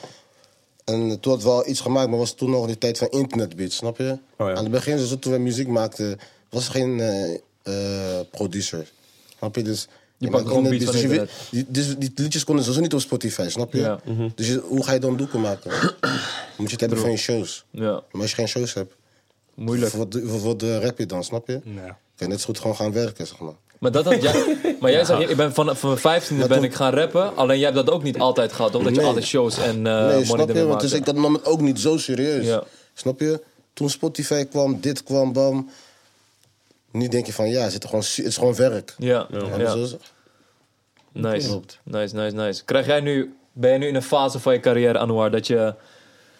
En toen had we al iets gemaakt, maar was toen nog die tijd van internetbeats, snap je? Oh ja. Aan het begin, zo toen we muziek maakten, was er geen eh, eh, producer, snap je? Dus je, pakt maakt gewoon internetbeats, beats dus van je weet- die, dus die liedjes konden sowieso niet op Spotify, snap je? Ja. Mhm. Dus je- hoe ga je dan doeken maken? Moet je het hebben van je shows. Ja, Maar als je geen shows hebt, moeilijk. voor wat, voor wat eh, rap je dan, snap je? Nee. Ik kan net zo goed gewoon gaan werken, zeg maar. Maar, dat had jij, maar jij zei, ik ben van, van mijn 15e ben toen- ik gaan rappen. Alleen jij hebt dat ook niet altijd gehad. Omdat je Nee. altijd shows en eh nee, money snap je? ermee Want maakte. dus ik had het moment ook niet zo serieus. Ja. Snap je? Toen Spotify kwam, dit kwam, bam. Nu denk je van, ja, zit er gewoon, su- het is gewoon werk. Ja, Ja, dus ja. Oh, maar zo is- Nice. nice, nice, nice. Krijg jij nu, ben je nu in een fase van je carrière, Anouar, dat je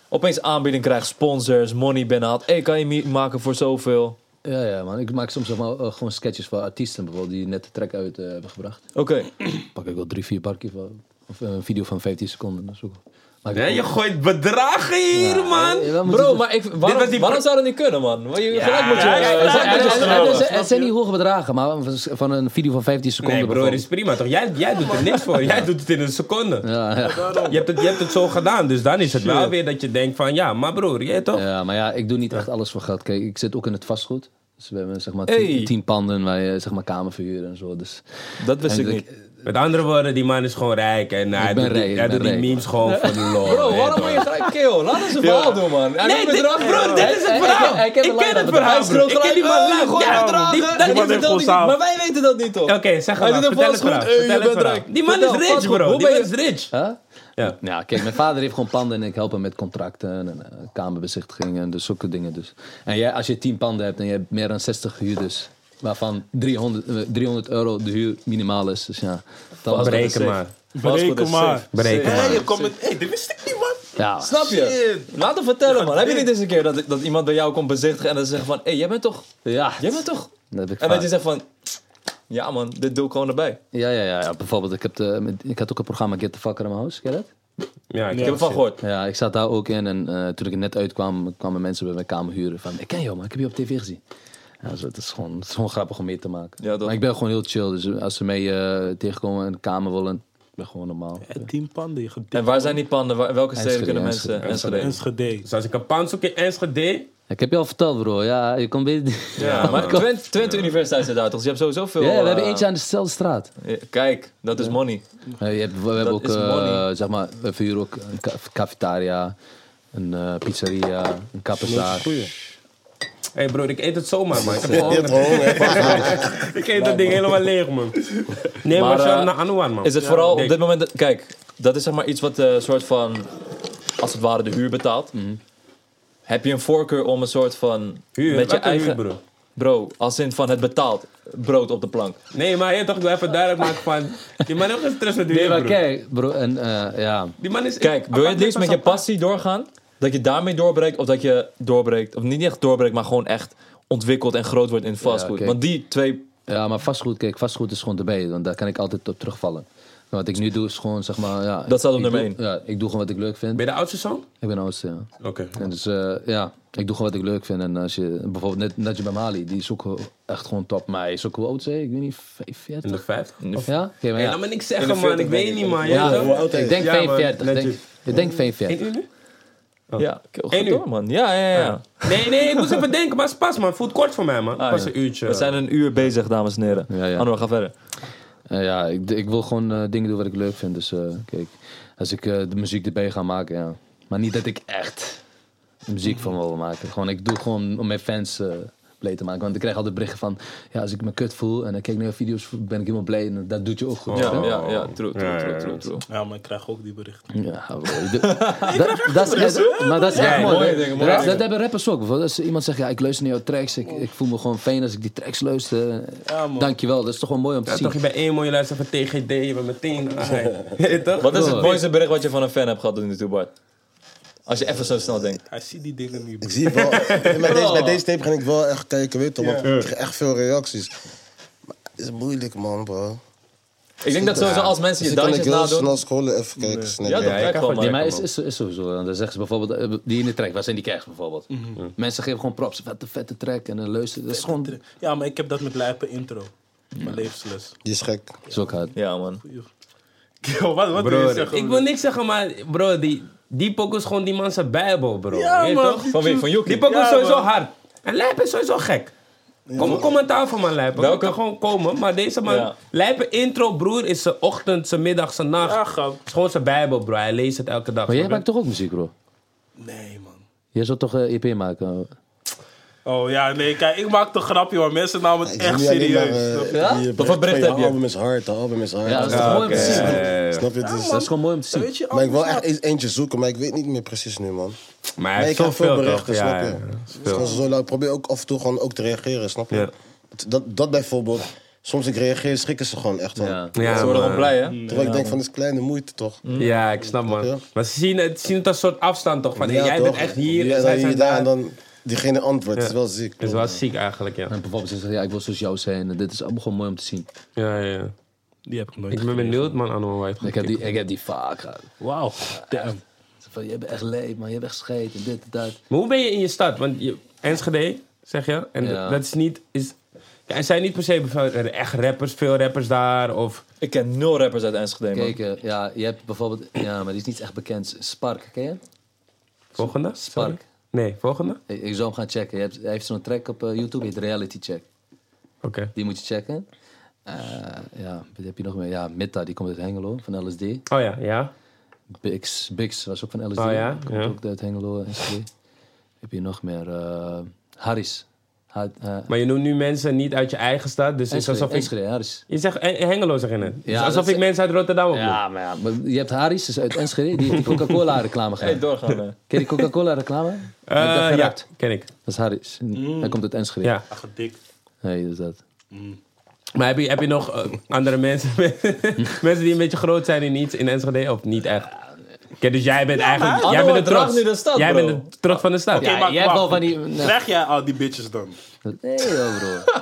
opeens aanbieding krijgt, sponsors, money binnenhaalt. Hé, hey, kan je me maken voor zoveel? Ja, ja, man. Ik maak soms zeg maar, eh, gewoon sketches van artiesten bijvoorbeeld die net de track uit eh, hebben gebracht. Oké. Pak ik wel drie, vier parkjes van. Of eh, een video van 15 seconden. Dat is ook- Maak ik Nee, ook- je gooit bedragen hier, man. Ja, maar moet je- Bro, maar ik, was waarom, die- waarom zou dat niet kunnen, man? Want je, gelijk moet je... ja, ja, ja, eh, ja, gelijk Het moet je is- stromen. het is- Het zijn niet hoge bedragen, maar van- van een video van 15 seconden. Nee, broer, bijvoorbeeld. is prima toch? Jij, jij doet er niks voor. Jij doet het in een seconde. Ja, ja. Je hebt, het, je hebt het zo gedaan, dus dan is het wel weer dat je denkt van ja, maar broer, jij toch? Ja, maar ja, ik doe niet echt alles voor geld. Kijk, ik zit ook in het vastgoed. Dus we hebben zeg maar Hey. tien, tien panden waar je zeg maar kamer verhuren en zo. Dus Dat wist En ik ik- niet. Met andere woorden, die man is gewoon rijk en hij ben doet, die- rijk, ik hij ben doet die rijk. memes gewoon voor de lol. Bro, weet waarom toch? moet je gelijk kill? Laat ons een verhaal doen, man. Hij Nee, heeft dit, bedrag, bro, man. dit is Hij- het hij- verhaal. hij Ik kent de ken het lijn, verhaal, Hij broer. schreeuwt Ik ken gelijk, die man oh, lang. gooi Ja, bedragen. die- Die- dat- die man heeft vertelt ons niet, aan. Maar wij weten dat niet, toch? Oké, zeg Hij maar. doet een Vertel het vastgoed, verhaal. eh, je Vertel het bent verhaal. rijk. Die man is Vertel, rich, vastgoed, bro. hoe Die ben man je- is rich. Huh? Ja. Ja, kijk, mijn vader heeft gewoon panden en ik help hem met contracten en eh, kamerbezichtigingen en dus zulke dingen. Dus. En jij, als je 10 panden hebt en je hebt meer dan 60 huurders, waarvan 300, eh, 300 euro de huur minimaal is. Dus ja, dan Breken maar. Vastgoed is Bereken maar. safe. Breken maar. je komt met... Hé, dit wist ik niet, man. Ja, Snap je? Laat hem vertellen, man. Heb je niet eens een keer dat, dat iemand bij jou komt bezichtigen en dan zegt van... Hé, jij bent toch... ja, Jij bent toch... dat heb ik vaak. En dat je zegt van... Ja man, dit doe ik gewoon erbij. ja, ja, ja, ja, bijvoorbeeld, ik, heb de, met- ik had ook een programma Get the Fuck Out of My House, ken je dat? Ja, ik Ik heb ervan gehoord. Ja, ik zat daar ook in en eh, toen ik er net uitkwam, kwamen mensen bij mijn kamer huren van, ik ken jou man, ik heb je op tv gezien. Ja, zo, het, is gewoon, het is gewoon grappig om mee te maken. Ja, dat- maar ik ben gewoon heel chill, dus als ze mij eh, tegenkomen en een kamer willen, ik ben gewoon normaal. Tien panden, je gedicht. En waar zijn die panden? Waar- welke steden Enschede, kunnen mensen... Enschede. Enschede. Enschede. Dus als ik een pand zoek in Enschede, Ik heb je al verteld bro, ja, je komt beter... Ja, Ja, maar Twente, Twente Universiteit zit daar toch? Dus je hebt sowieso veel... we hebben eh, eentje aan dezelfde straat. Ja, Kijk, dat is money. Eh, je hebt, we hebben ook, is eh, money. zeg maar, we verhuren ook een ca- cafetaria, een eh, pizzeria, een kapperszaak. hey broer, ik eet het zomaar, man. Ik, heb Je hebt honger. honger. ik eet dat ding helemaal leeg, man. Nee, maar, Maar, shout eh, naar Anouar, man. Is het vooral op dik. dit moment... dat- Kijk, dat is zeg maar iets wat eh soort van... Als het ware de huur betaalt. Mhm. Heb je een voorkeur om een soort van... Huur? met je Welke huur, eigen... bro? Bro, als in van het betaald brood op de plank. Nee, maar je toch ik wil even duidelijk maken van... Die man heeft geen stress met die Nee, huur, maar broer. kijk, bro, en eh, ja. Die man is... Kijk, wil je het liefst met je passie doorgaan? Dat je daarmee doorbreekt of dat je doorbreekt. Of niet echt doorbreekt, maar gewoon echt ontwikkeld en groot wordt in fastfood. oké. Want die twee... Ja, maar vastgoed, kijk, vastgoed is gewoon erbij, want daar kan ik altijd op terugvallen. Maar wat ik nu doe is gewoon, zeg maar, ja. Dat staat op ik nummer doe- één. Ja, ik doe gewoon wat ik leuk vind. Ben je de oudste zoon? Ik ben oudste, ja. Oké. En dus eh, ja, ik doe gewoon wat ik leuk vind. En als je, bijvoorbeeld net Najib Mali, die zoeken echt gewoon top. Maar hij is ook hoe oud, zeg ik? Ik weet niet, In 45? de vijf? Nee, Ja? Oké, maar ja. laat me niks zeggen, man. Ik weet niet, man. Ja, Ja, toch? oud hij ik is. denk Ja, man, 42. Najib. denk, ik denk 42. Eet u nu? Ja, goed Oh. Eén uur. Ah. door, man. Ja, ja, ja. ja. Nee, nee, ik moest even denken. Maar het is pas, man. Voelt kort voor mij, man. Ah, pas ja. een uurtje. We zijn een uur bezig, dames en heren. Ja, ja. Anwar, ga verder. Eh, ja, ik, ik wil gewoon eh, dingen doen wat ik leuk vind. Dus eh, kijk, als ik eh, de muziek erbij ga maken, ja. Maar niet dat ik echt muziek van wil maken. Gewoon, ik doe gewoon om mijn fans eh, blij te maken. Want ik krijg altijd berichten van, ja, als ik me kut voel en ik kijk naar video's, ben ik helemaal blij. En dat doet je ook goed. Ja, hè? Oh, ja, ja, true, true, true, true, true. Ja, maar ik krijg ook die berichten. Ja, bro. De- dat, dat is echt, maar dat is echt mooi. mooie Dat- dingen, mooie dat, dingen. dat hebben rappers ook. Bijvoorbeeld als iemand zegt, ja, ik luister naar jouw tracks. Ik, ik voel me gewoon fijn als ik die tracks luister. man. Dankjewel, dat is toch wel mooi om te Ja, zien. toch, je bent één mooie luister van TGD. Je bent meteen... Ah, ja. toch? Wat is Bro. het mooiste bericht wat je van een fan hebt gehad tot nu toe, Bart? Als je even zo snel denkt. Hij ziet die dingen niet. Ik bro. zie wel, met deze, met deze tape ging ik wel echt kijken, weet je, want ik kreeg echt veel reacties. Maar het is moeilijk, man, bro. Ik denk dat sowieso als mensen je Dus dan kan ik dansjes heel nadoen... snel scrollen, even kijken. snel. Ja, dat Ja, ik werkt kan wel, gewoon- Nee, man. maar is, is, is sowieso. Dan zeggen ze bijvoorbeeld, eh, die in de track, waar zijn die krijgs bijvoorbeeld? Mensen geven gewoon props, wat een vette track en dan luisteren. Dat is gewoon, dat Ja, maar ik heb dat met lijpe intro. Mijn levensles. Die is gek. is ook hard. Ja, man. Yo, wat, wat wil je zeggen? ik wil niks zeggen, maar bro, die, die pokoe is gewoon die man zijn bijbel, bro. Ja, Weet je man. toch? Van wie? Van Yuki? Die pokoe is Ja, sowieso man. hard. En Lijp is sowieso gek. Kom een commentaar van mijn Lijp. Dat Welke? kan gewoon komen, maar deze man... Ja. Lijpen intro, broer, is zijn ochtend, zijn middag, zijn nacht. Ja, grap. Het is gewoon zijn bijbel, bro. Hij leest het elke dag. Maar jij snap je? maakt toch ook muziek, bro? Nee, man. Jij zou toch eh, EP maken? Oh ja, nee, kijk, ik maak een grapje, maar mensen namen het Ik echt zie nu alleen maar, serieus. eh, snap je? Ja? die Wat voor bericht van, heb je? album is hard, de album is hard. Ja, dat is toch mooi om te zien, bro? Snap je? Dus, Dat is gewoon mooi om te zien. Weet je, maar ik wil anders- echt eens eentje zoeken, maar ik weet niet meer precies nu, man. Maar hij Maar ik heeft heb veel zoveel, berichten, toch? snap Ja, je? ja. Dus gewoon zo lauw. Ik probeer ook af en toe gewoon ook te reageren, snap je? Ja. Dat, dat bijvoorbeeld, soms ik reageer, schrikken ze gewoon echt van. Ja. Mm. Ja, Ze worden man. gewoon blij, hè? Terwijl ik denk van, dat is kleine moeite, toch? Ja, ik snap, man. Ja. Maar ze zien het, zien het als een soort afstand, toch? Van, Ja, jij toch? bent echt hier, en Ja, dan zij hier, zijn daar daar. en dan diegene antwoordt. Het is wel ziek. Het is wel ziek, eigenlijk, ja. En bijvoorbeeld ze zeggen, ja, ik wil zoals jou zijn. En dit is allemaal gewoon mooi om te zien. Ja, ja, ja. Die heb ik nooit Ik ben benieuwd, man, aan hoe hij het gaat Ik heb die, ik heb die vaak gehad. Wauw, damn. Ze Van, jij bent echt leep, man. Je bent echt scheet en dit en dat. Maar hoe ben je in je stad? Want je, Enschede, zeg je? En Ja. dat is niet... Is, ja, er zijn niet per se bijvoorbeeld echt rappers, veel rappers daar. Of, Ik ken nul rappers uit Enschede, man. Kijk, eh, ja, je hebt bijvoorbeeld... Ja, maar die is niet echt bekend. Spark, ken je? volgende? Sorry. Spark. Nee, volgende? Ik, ik zou hem gaan checken. Je hebt, hij heeft zo'n track op eh, YouTube, heet Reality Check. Oké. Die moet je checken. Eh, ja, wat heb je nog meer? Ja, Mitta, die komt uit Hengelo, van LSD. Oh ja, ja. Bix, Bix was ook van LSD. Oh ja, Komt ja. ook uit Hengelo, LSD. heb je nog meer? eh Harris. Ha, eh, Maar je noemt nu mensen niet uit je eigen stad. Dus het is Enschede, alsof ik... Enschede, Harris. Je zegt eh, Hengelo, zeg je net. Dus Ja, alsof dat ik mensen uit Rotterdam opnoem. Ja, maar ja. maar je hebt Harris, dus uit Enschede, die heeft die Coca-Cola reclame gedaan. Hey, doorgaan, hè. Ken je die Coca-Cola reclame? Met Eh, dat ja, geraakt. ken ik. Dat is Harris. Hij komt uit Enschede. Ja. Ach, dik. Nee, dat is dat. Maar heb je, heb je nog eh, andere mensen? mensen die een beetje groot zijn in iets in Enschede? Of niet echt? Oké, dus jij bent eigenlijk... Jij Anno, bent de draag trots. nu de stad, jij bro. bent de trots van de stad. Ja, jij hebt wel van die- nee. Krijg jij al die bitches dan? Nee, joh, bro.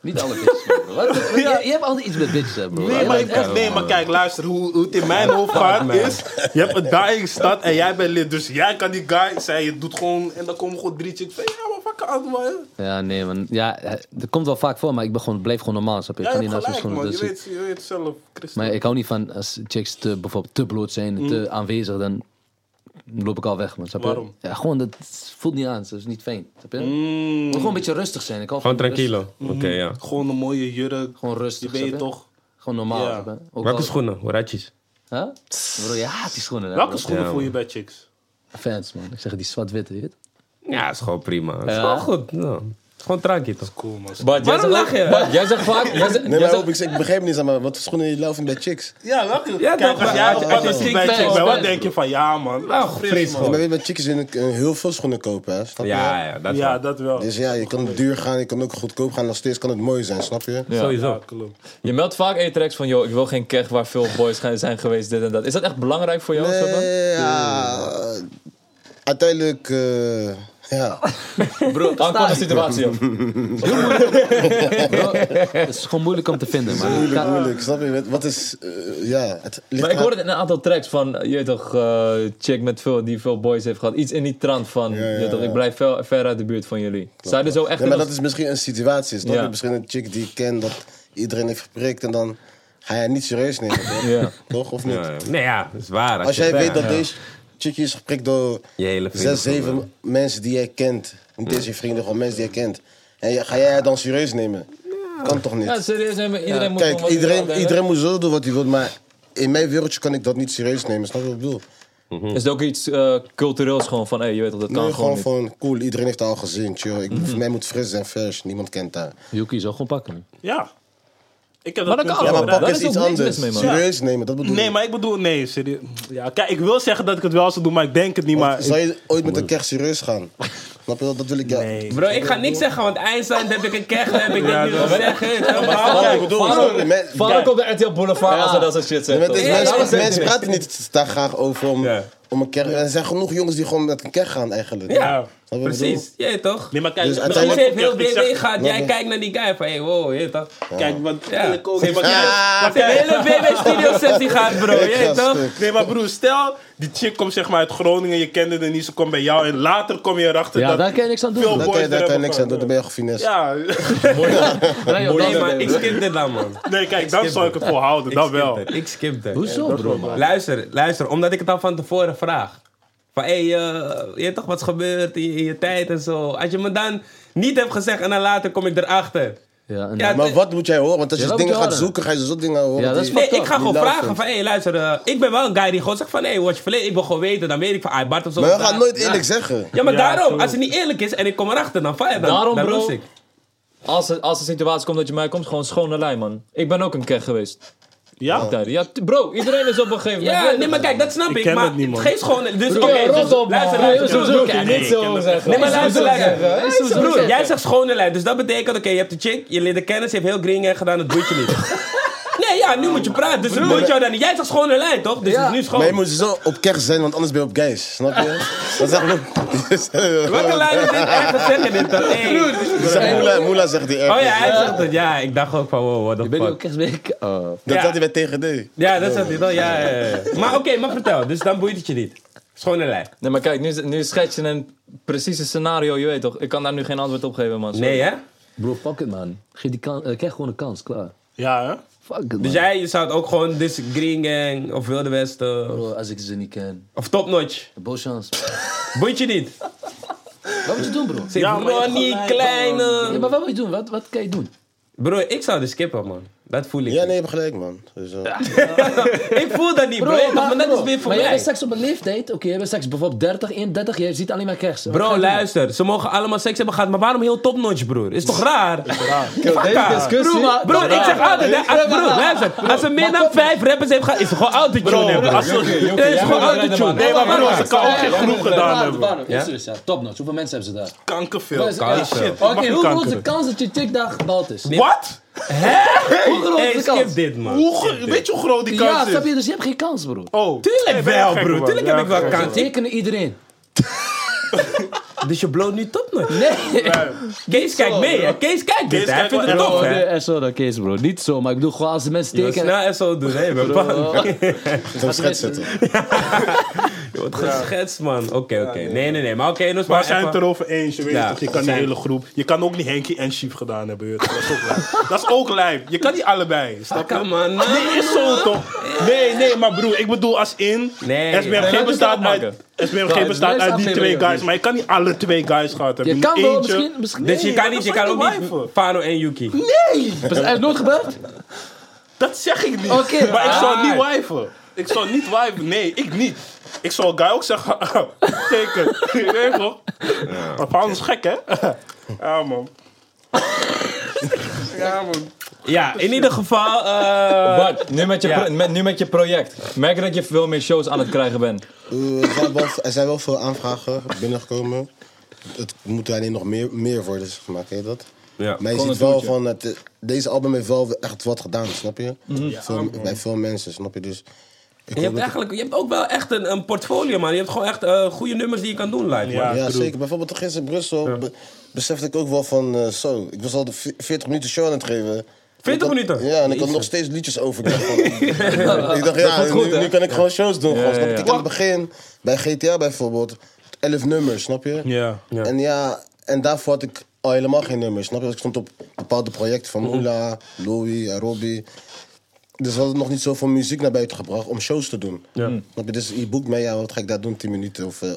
Niet alle bitches, bro. Wat, wat- je, je hebt altijd iets met bitches, hè, bro. Nee, Jij maar, bent ik, nee, maar kijk, luister, hoe, hoe het in mijn hoofd gaat is... Je hebt een dying stad en jij bent lid. Dus jij kan die guy zijn, je doet gewoon... En dan komen gewoon drie chicks van... Ja, maar fuck out, man. Ja, nee, man. Ja, eh, dat komt wel vaak voor, maar ik ben gewoon, blijf gewoon normaal, snap je? Ik Jij ga hebt niet naar gelijk, zo'n man. schoenen. Je Dus ik- weet, je weet zelf, Christen. maar ik hou niet van als chicks te, bijvoorbeeld te bloot zijn, en te aanwezig, dan loop ik al weg, man. Snap je? Mm. Waarom? Mm. Ja, gewoon, dat voelt niet aan. Dat is niet fijn, snap je? Ik wil gewoon een beetje rustig zijn. Ik hou Gewoon van tranquilo. rustig- Oké, ja. Gewoon een mooie jurk. gewoon rustig, Je weet snap je? toch... Gewoon normaal, Ja. snap je? Ook Welke al- schoenen? Horatjes. Huh? Bro, je haat die schoenen. hè, Welke bro. schoenen Ja, voel je bij chicks? Fans, man. Ik zeg die zwart-witte, weet je? Ja, is gewoon prima. Het is Ja. gewoon goed. Ja. Het is Gewoon een drankje toch? Cool, man. Bart, jij Waarom zegt- lach je? Bart, Jij zegt vaak... Jij zegt, Nee, jij maar zegt, hoop, ik, ik begreep niet, zeg maar, wat voor schoenen je loopt in bij chicks? Oh. Ja, lach je. Ja, Kijk, toch, als maar jij als je- als als je je chick bij stinkt, chick man. bent, wat denk je van ja, man. Nou, fris Ja, maar gewoon. weet je, bij chicks willen eh, heel veel schoenen kopen, hè? Snap je? Ja, ja, dat is Ja, waar. dat wel. Dus ja, je kan duur gaan, je kan ook goedkoop gaan, nog steeds kan het mooi zijn, snap je? ja. Ja, Sowieso. klopt. Je meldt vaak in je tracks van, joh, ik wil geen keg waar veel boys gaan- zijn geweest, dit en dat. Is dat echt belangrijk voor jou? Nee, Saban? Eh, ja, uiteindelijk, eh, ja. Bro, hangt van de situatie af. Het is gewoon moeilijk om te vinden, man. Moeilijk, moeilijk, snap je? Wat- Wat is, eh, ja, het ligt Maar ik aan- hoorde het in een aantal tracks van, je weet toch, eh, chick met veel, die veel boys heeft gehad. Iets in die trant van, je weet toch, ik blijf ver, ver uit de buurt van jullie. Zijn er zo echt... Ja, maar nog- dat is misschien een situatie, snap Ja. je? Misschien een chick die ik ken, dat iedereen heeft geprikt en dan ga jij niet serieus nemen, toch? Ja. Toch, of niet? Ja, ja. Nee, ja, dat is waar. Als jij het weet bent, dat ja. deze chickie is geprikt door Je hele zes, vriendengroep, zeven mensen die jij kent. Niet eens je vrienden, gewoon mensen die jij kent. En je- ga jij haar dan serieus nemen? Kan toch niet? Ja, serieus, nee, maar iedereen moet Kijk, gewoon wat hij wil, iedereen, hè? iedereen moet zo doen wat hij wil, maar in mijn wereldje kan ik dat niet serieus nemen. Snap je wat ik bedoel? Is het ook iets eh, cultureels gewoon van, hey, je weet toch, dat kan Nee, gewoon gewoon niet. Mhm. van, cool, iedereen heeft haar al gezien, chill. Ik, Voor mij moet fris en vers, niemand kent haar. Yuki zou gewoon pakken. Ja. Ik heb Maar dat punt kan Ja, wel. ook. maar daar pak is is iets ook niks anders. mis mee, man. serieus nemen, dat bedoel Nee, ik. maar ik bedoel, nee, serieus. Ja, kijk, ik wil zeggen dat ik het wel zou doen, maar ik denk het niet, maar... Zou je ooit met een kerst serieus gaan? Snap je wel? Dat wil ik ja. Nee. Bro, ik ga niks zeggen, want Einstein heb ik een keg, heb ik Ja, dat niet dat- wil zeggen. Maar Wat kijk, ik bedoel, snap je? Men- Vader komt bij RTL Boulevard als hij dat soort shit Nee, zegt. maar het is- toch? mensen- dat is het mensen niet. praten niet daar graag over om, Ja. om een kerk. Er zijn genoeg jongens die gewoon met een kerk gaan eigenlijk. Ja, Snap je wat ik precies. Jij toch? Nee, maar kijk, Dus dat- Als je uiteindelijk- heeft heel ik zeg- BB gaat, jij Nee. kijkt naar die guy van, hey, wow, je toch? Kijk, want Ja. ik ook. Zeg maar, Kijk, kijk, maar Als je kijk, hele BB Studio sessie gaat, bro, bedoel? je Ik ga toch? stuk. Nee, maar broer, stel die chick komt zeg maar uit Groningen, je kende er niet, ze komt bij jou en later kom je erachter Ja, dat... daar kan je niks aan Veel doen. boys Daar kan je, daar er kan je hebben niks aan doen, dan van, ben je gefinest. Ja, Nee, joh, Nee, dat- maar ik skip dit dan, man. nee, kijk, dan zou ik het volhouden, dat Ik skip wel. dit, Ik skip dit. Hoezo, bro, man? Luister, luister, omdat ik het al van tevoren vraag. Van hé, hey, eh, je weet toch wat is gebeurd in je, in je tijd en zo. Als je me dan niet hebt gezegd en dan later kom ik erachter. Ja, en- Ja, Maar wat moet jij horen? Want als je Ja, wat dingen moet je gaat horen? zoeken, ga je zo dingen horen. Ja, dat is die- Nee, fucked ik up, ga gewoon die luistert. vragen van hé, hey, luister, eh, ik ben wel een guy die gewoon zegt van hé, hey, wat je verleden, ik wil gewoon weten, dan weet ik van ah, Bart of zo. Maar we daar- gaan nooit ja. eerlijk zeggen. Ja, maar Ja, daarom, true. als het niet eerlijk is en ik kom erachter, dan fire, dan, Daarom, dan bro. roast ik. Als er, als er situatie komt dat je mij komt, gewoon schone lijn, man. Ik ben ook een keg geweest. Ja? Daar- Ja, t- bro, iedereen is op een gegeven moment. Ja, nee, maar kijk, dat snap ik, Ik ken maar het niet, man. geef gewoon, dus oké, Bro, dus- rot op, man. luister, Nee, luister, zo luister. doe ik het niet zo zeggen. Nee, maar Zo luister, zeggen. luister. Hè? Zo zeggen. Broer, jij zegt schone lijn. Dus dat betekent, oké, je hebt de chick, je leert de kennis, je heeft heel green gedaan, dat doet je niet. Nee, ja, nu moet je praten, dus dat moet jou dan niet. Jij zegt schone lijn, toch? Dus het is nu Maar je schoon. moet zo op kerst zijn, want anders ben je op guys. Snap je? Dat is echt... Welke lijn is dit? Echt zeggen dit dan? Hey. Dat zegt Moela, Moela zegt die echt. Oh ja, hij zegt het. Ja, ik dacht ook van, wow, what Ik the ben nu ook fuck. echt week. Oh. Dat Ja. zat hij bij tegen D. Ja, dat zegt hij wel. Ja, ja, ja. Maar oké, maar vertel. Dus dan boeit het je niet. Schone lijn. Nee, maar kijk, nu, nu schets je een precieze scenario, je weet toch? Ik kan daar nu geen antwoord op geven, man. Nee, hè? Bro, fuck it, man. Geef die kan, eh, krijg gewoon een kans, klaar. Ja, hè? Fuck it, man. Dus jij zou het ook gewoon, dus Green Gang of Wilde Westen Bro, als ik ze niet ken. of Top Notch. Bo chance. Boeit je niet. Wat moet je doen, bro? Zeg, Ja, maar je hebt Ronnie, gelijk, Ja, kleine. maar wat moet je doen? Wat, wat kan je doen? Bro, ik zou de skippen, man. Dat voel ik. Ja, nee, je hebt gelijk, man. Dus, eh, Ik voel dat niet, bro. maar, dat bro, is weer voor maar jij mij. bent straks op een leeftijd. Oké, jij bent straks bijvoorbeeld 30, 31. Jij ziet alleen maar kersen. Wat ga Bro, je luister. Ze mogen allemaal seks hebben gehad, maar waarom heel topnotch, broer? Is toch raar? Fuck haar. discussie- Broer, maar- Broer, ik zeg altijd, hè, als, broer, luister. Als ze meer dan vijf rappers heeft gehad, is het gewoon autotune, hè, bro. Als ze- Het is gewoon autotune. Nee, maar broer, ze wacht, kan ook doen? geen Ja, groep maar- gedaan maar- hebben. maar- is er dus, ja, Topnotch. Hoeveel mensen hebben ze daar? Kankerveel. Kanker. Mag Oké, je hoe groot is de kankeren? kans dat je tikdag bald is? Wat? Hoe groot is Hey, de skip kans? dit, man. Hoe gro- Weet je hoe groot die Ja, kans snap is? je? Dus je hebt geen kans, bro. Oh. Tuurlijk wel, broer. Tuurlijk heb ik wel kans. Tekenen iedereen. Dus je bloot nu topnotch. Nee. Kees kijkt mee, hè. Kees kijkt dit, Kees hè. Hij kijkt vindt het wel tof, echt hè. Nee, SO dan Kees, bro. Niet zo, maar ik bedoel gewoon als de mensen Je tekenen. snel SO doen, hè. Je bent bang. zo'n schets zetten. Je wordt geschetst, man. Oké, oké. Nee, nee, nee. Maar oké, dus Maar we zijn het erover eens, je weet Ja, dat je kan de zijn- hele groep. Je kan ook niet Henkie en Chief gedaan hebben. weet je. Dat is ook lijp. Dat is ook lijp. Je kan niet allebei. Snap je? Kom Ah, man. Nee, is zo toch? Nee, nee, maar broer, ik bedoel als in. Nee. SBMG Nee, bestaat dat moet je uit. SBMG bestaat blijft uit die twee afleveren, guys, maar je kan niet alle twee guys gehad hebben. Je moet kan wel, eentje- misschien. misschien Dus je Nee, kan, dat niet, je is kan wat ook ik niet wijfel. Fano en Yuki. Pas- Hij is nooit gebeurd? Dat zeg ik niet. Oké. Maar ik zou Ah. niet wijven. Ik zou niet wijven. Nee, ik niet. Ik zou Guy ook zeggen, teken. Je weet toch? Maar Paul is gek, hè? ja, man. ja, man. Ja, in ieder geval. eh, Bart, nu met, je ja. pro- met, nu met je project. Merk je dat je veel meer shows aan het krijgen bent? Eh, er, zijn wel, er zijn wel veel aanvragen binnengekomen. Het moet er alleen nog meer, meer worden zeg maar, ken je dat? Ja. maar je Gewoon ziet een wel doeltje. van, het, eh, deze album heeft wel echt wat gedaan, snap je? Mhm. Veel- bij veel mensen, snap je? Dus ik je hoop hebt dat- eigenlijk, je hebt ook wel echt een, een portfolio, man. Je hebt gewoon echt eh, goede nummers die je kan doen live. Ja. man. Ja, ik bedoel- zeker. Bijvoorbeeld gisteren in Brussel be- besefte ik ook wel van eh, zo. Ik was al de ve- 40 minuten show aan het geven. 40 Ik had- minuten? Ja, en ik had nog steeds liedjes over. Ik dacht, van- ik dacht ja, nu, nu kan ik gewoon shows doen. gewoon, snap je? Ik aan het begin, bij GTA bijvoorbeeld, 11 nummers, snap je? Ja, ja. En ja, en daarvoor had ik al helemaal geen nummers, snap je? Want Ik stond op bepaalde projecten Mhm. van Oela, Louis en Robbie. Dus we hadden nog niet zoveel muziek naar buiten gebracht om shows te doen. Snap je? Dus je boekt mij, ja, wat ga ik daar doen? 10 minuten of eh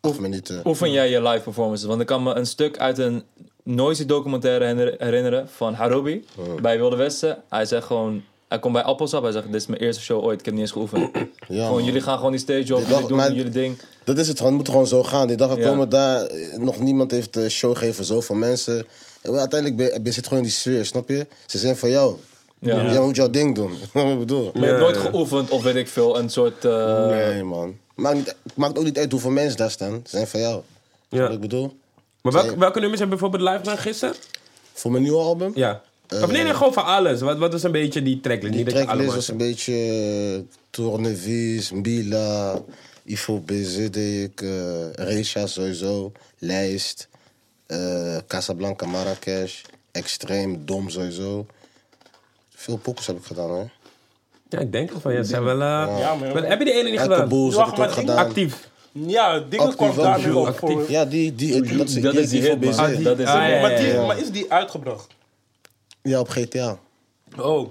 8 minuten. Oefen jij je live performances? Want ik kan me een stuk uit een noisy documentaire herinner- herinneren van Harobi bij Wilde Westen. Hij zegt gewoon, hij komt bij Appelsap, hij zegt dit is mijn eerste show ooit, ik heb niet eens geoefend. Ja, gewoon man. jullie gaan gewoon die stage op, Dit jullie dag- doen maar- jullie ding. Dat is het gewoon, het moet gewoon zo gaan. Die dag er Ja. komen daar, eh, nog niemand heeft een show gegeven voor zoveel mensen. En wel, Uiteindelijk ben, ben je zit gewoon in die sfeer, snap je? Ze zijn van jou. Ja. Jij moet jouw ding doen. Wat ik bedoel? Maar je hebt nooit geoefend of weet ik veel, een soort... eh, Nee, man. Maakt, niet, maakt ook niet uit hoeveel mensen daar staan. Ze zijn van jou. Ja. Wat ik bedoel? Maar welke, welke nummers hebben we bijvoorbeeld live gedaan gisteren? Voor mijn nieuwe album? Ja. of nee, nee, gewoon van alles. Wat, wat was een beetje die tracklist? Eh, Die Niet dat je tracklist allemaal- was een beetje eh, Tournevis, Mbila, Ifo BZ, ik, eh Reisha sowieso, Lijst, eh, Casablanca, Marrakesh, Extreem, Dom sowieso. Veel pokkers heb ik gedaan hoor. Ja, ik denk het van. Ja, het zijn wel, eh, Ja, maar- wel- heb je die ene niet Elke gedaan? boels heb Wacht, ik maar ook die- gedaan. Actief. ja dingen Actief kwam wel, daar nu Jules. op voor. Ja, die, die, dat is, dat is die hit, man. BZ. Ah, dat is Ah, het. ja, Maar, ja, die, ja. maar is die uitgebracht? Ja, op GTA. Oh.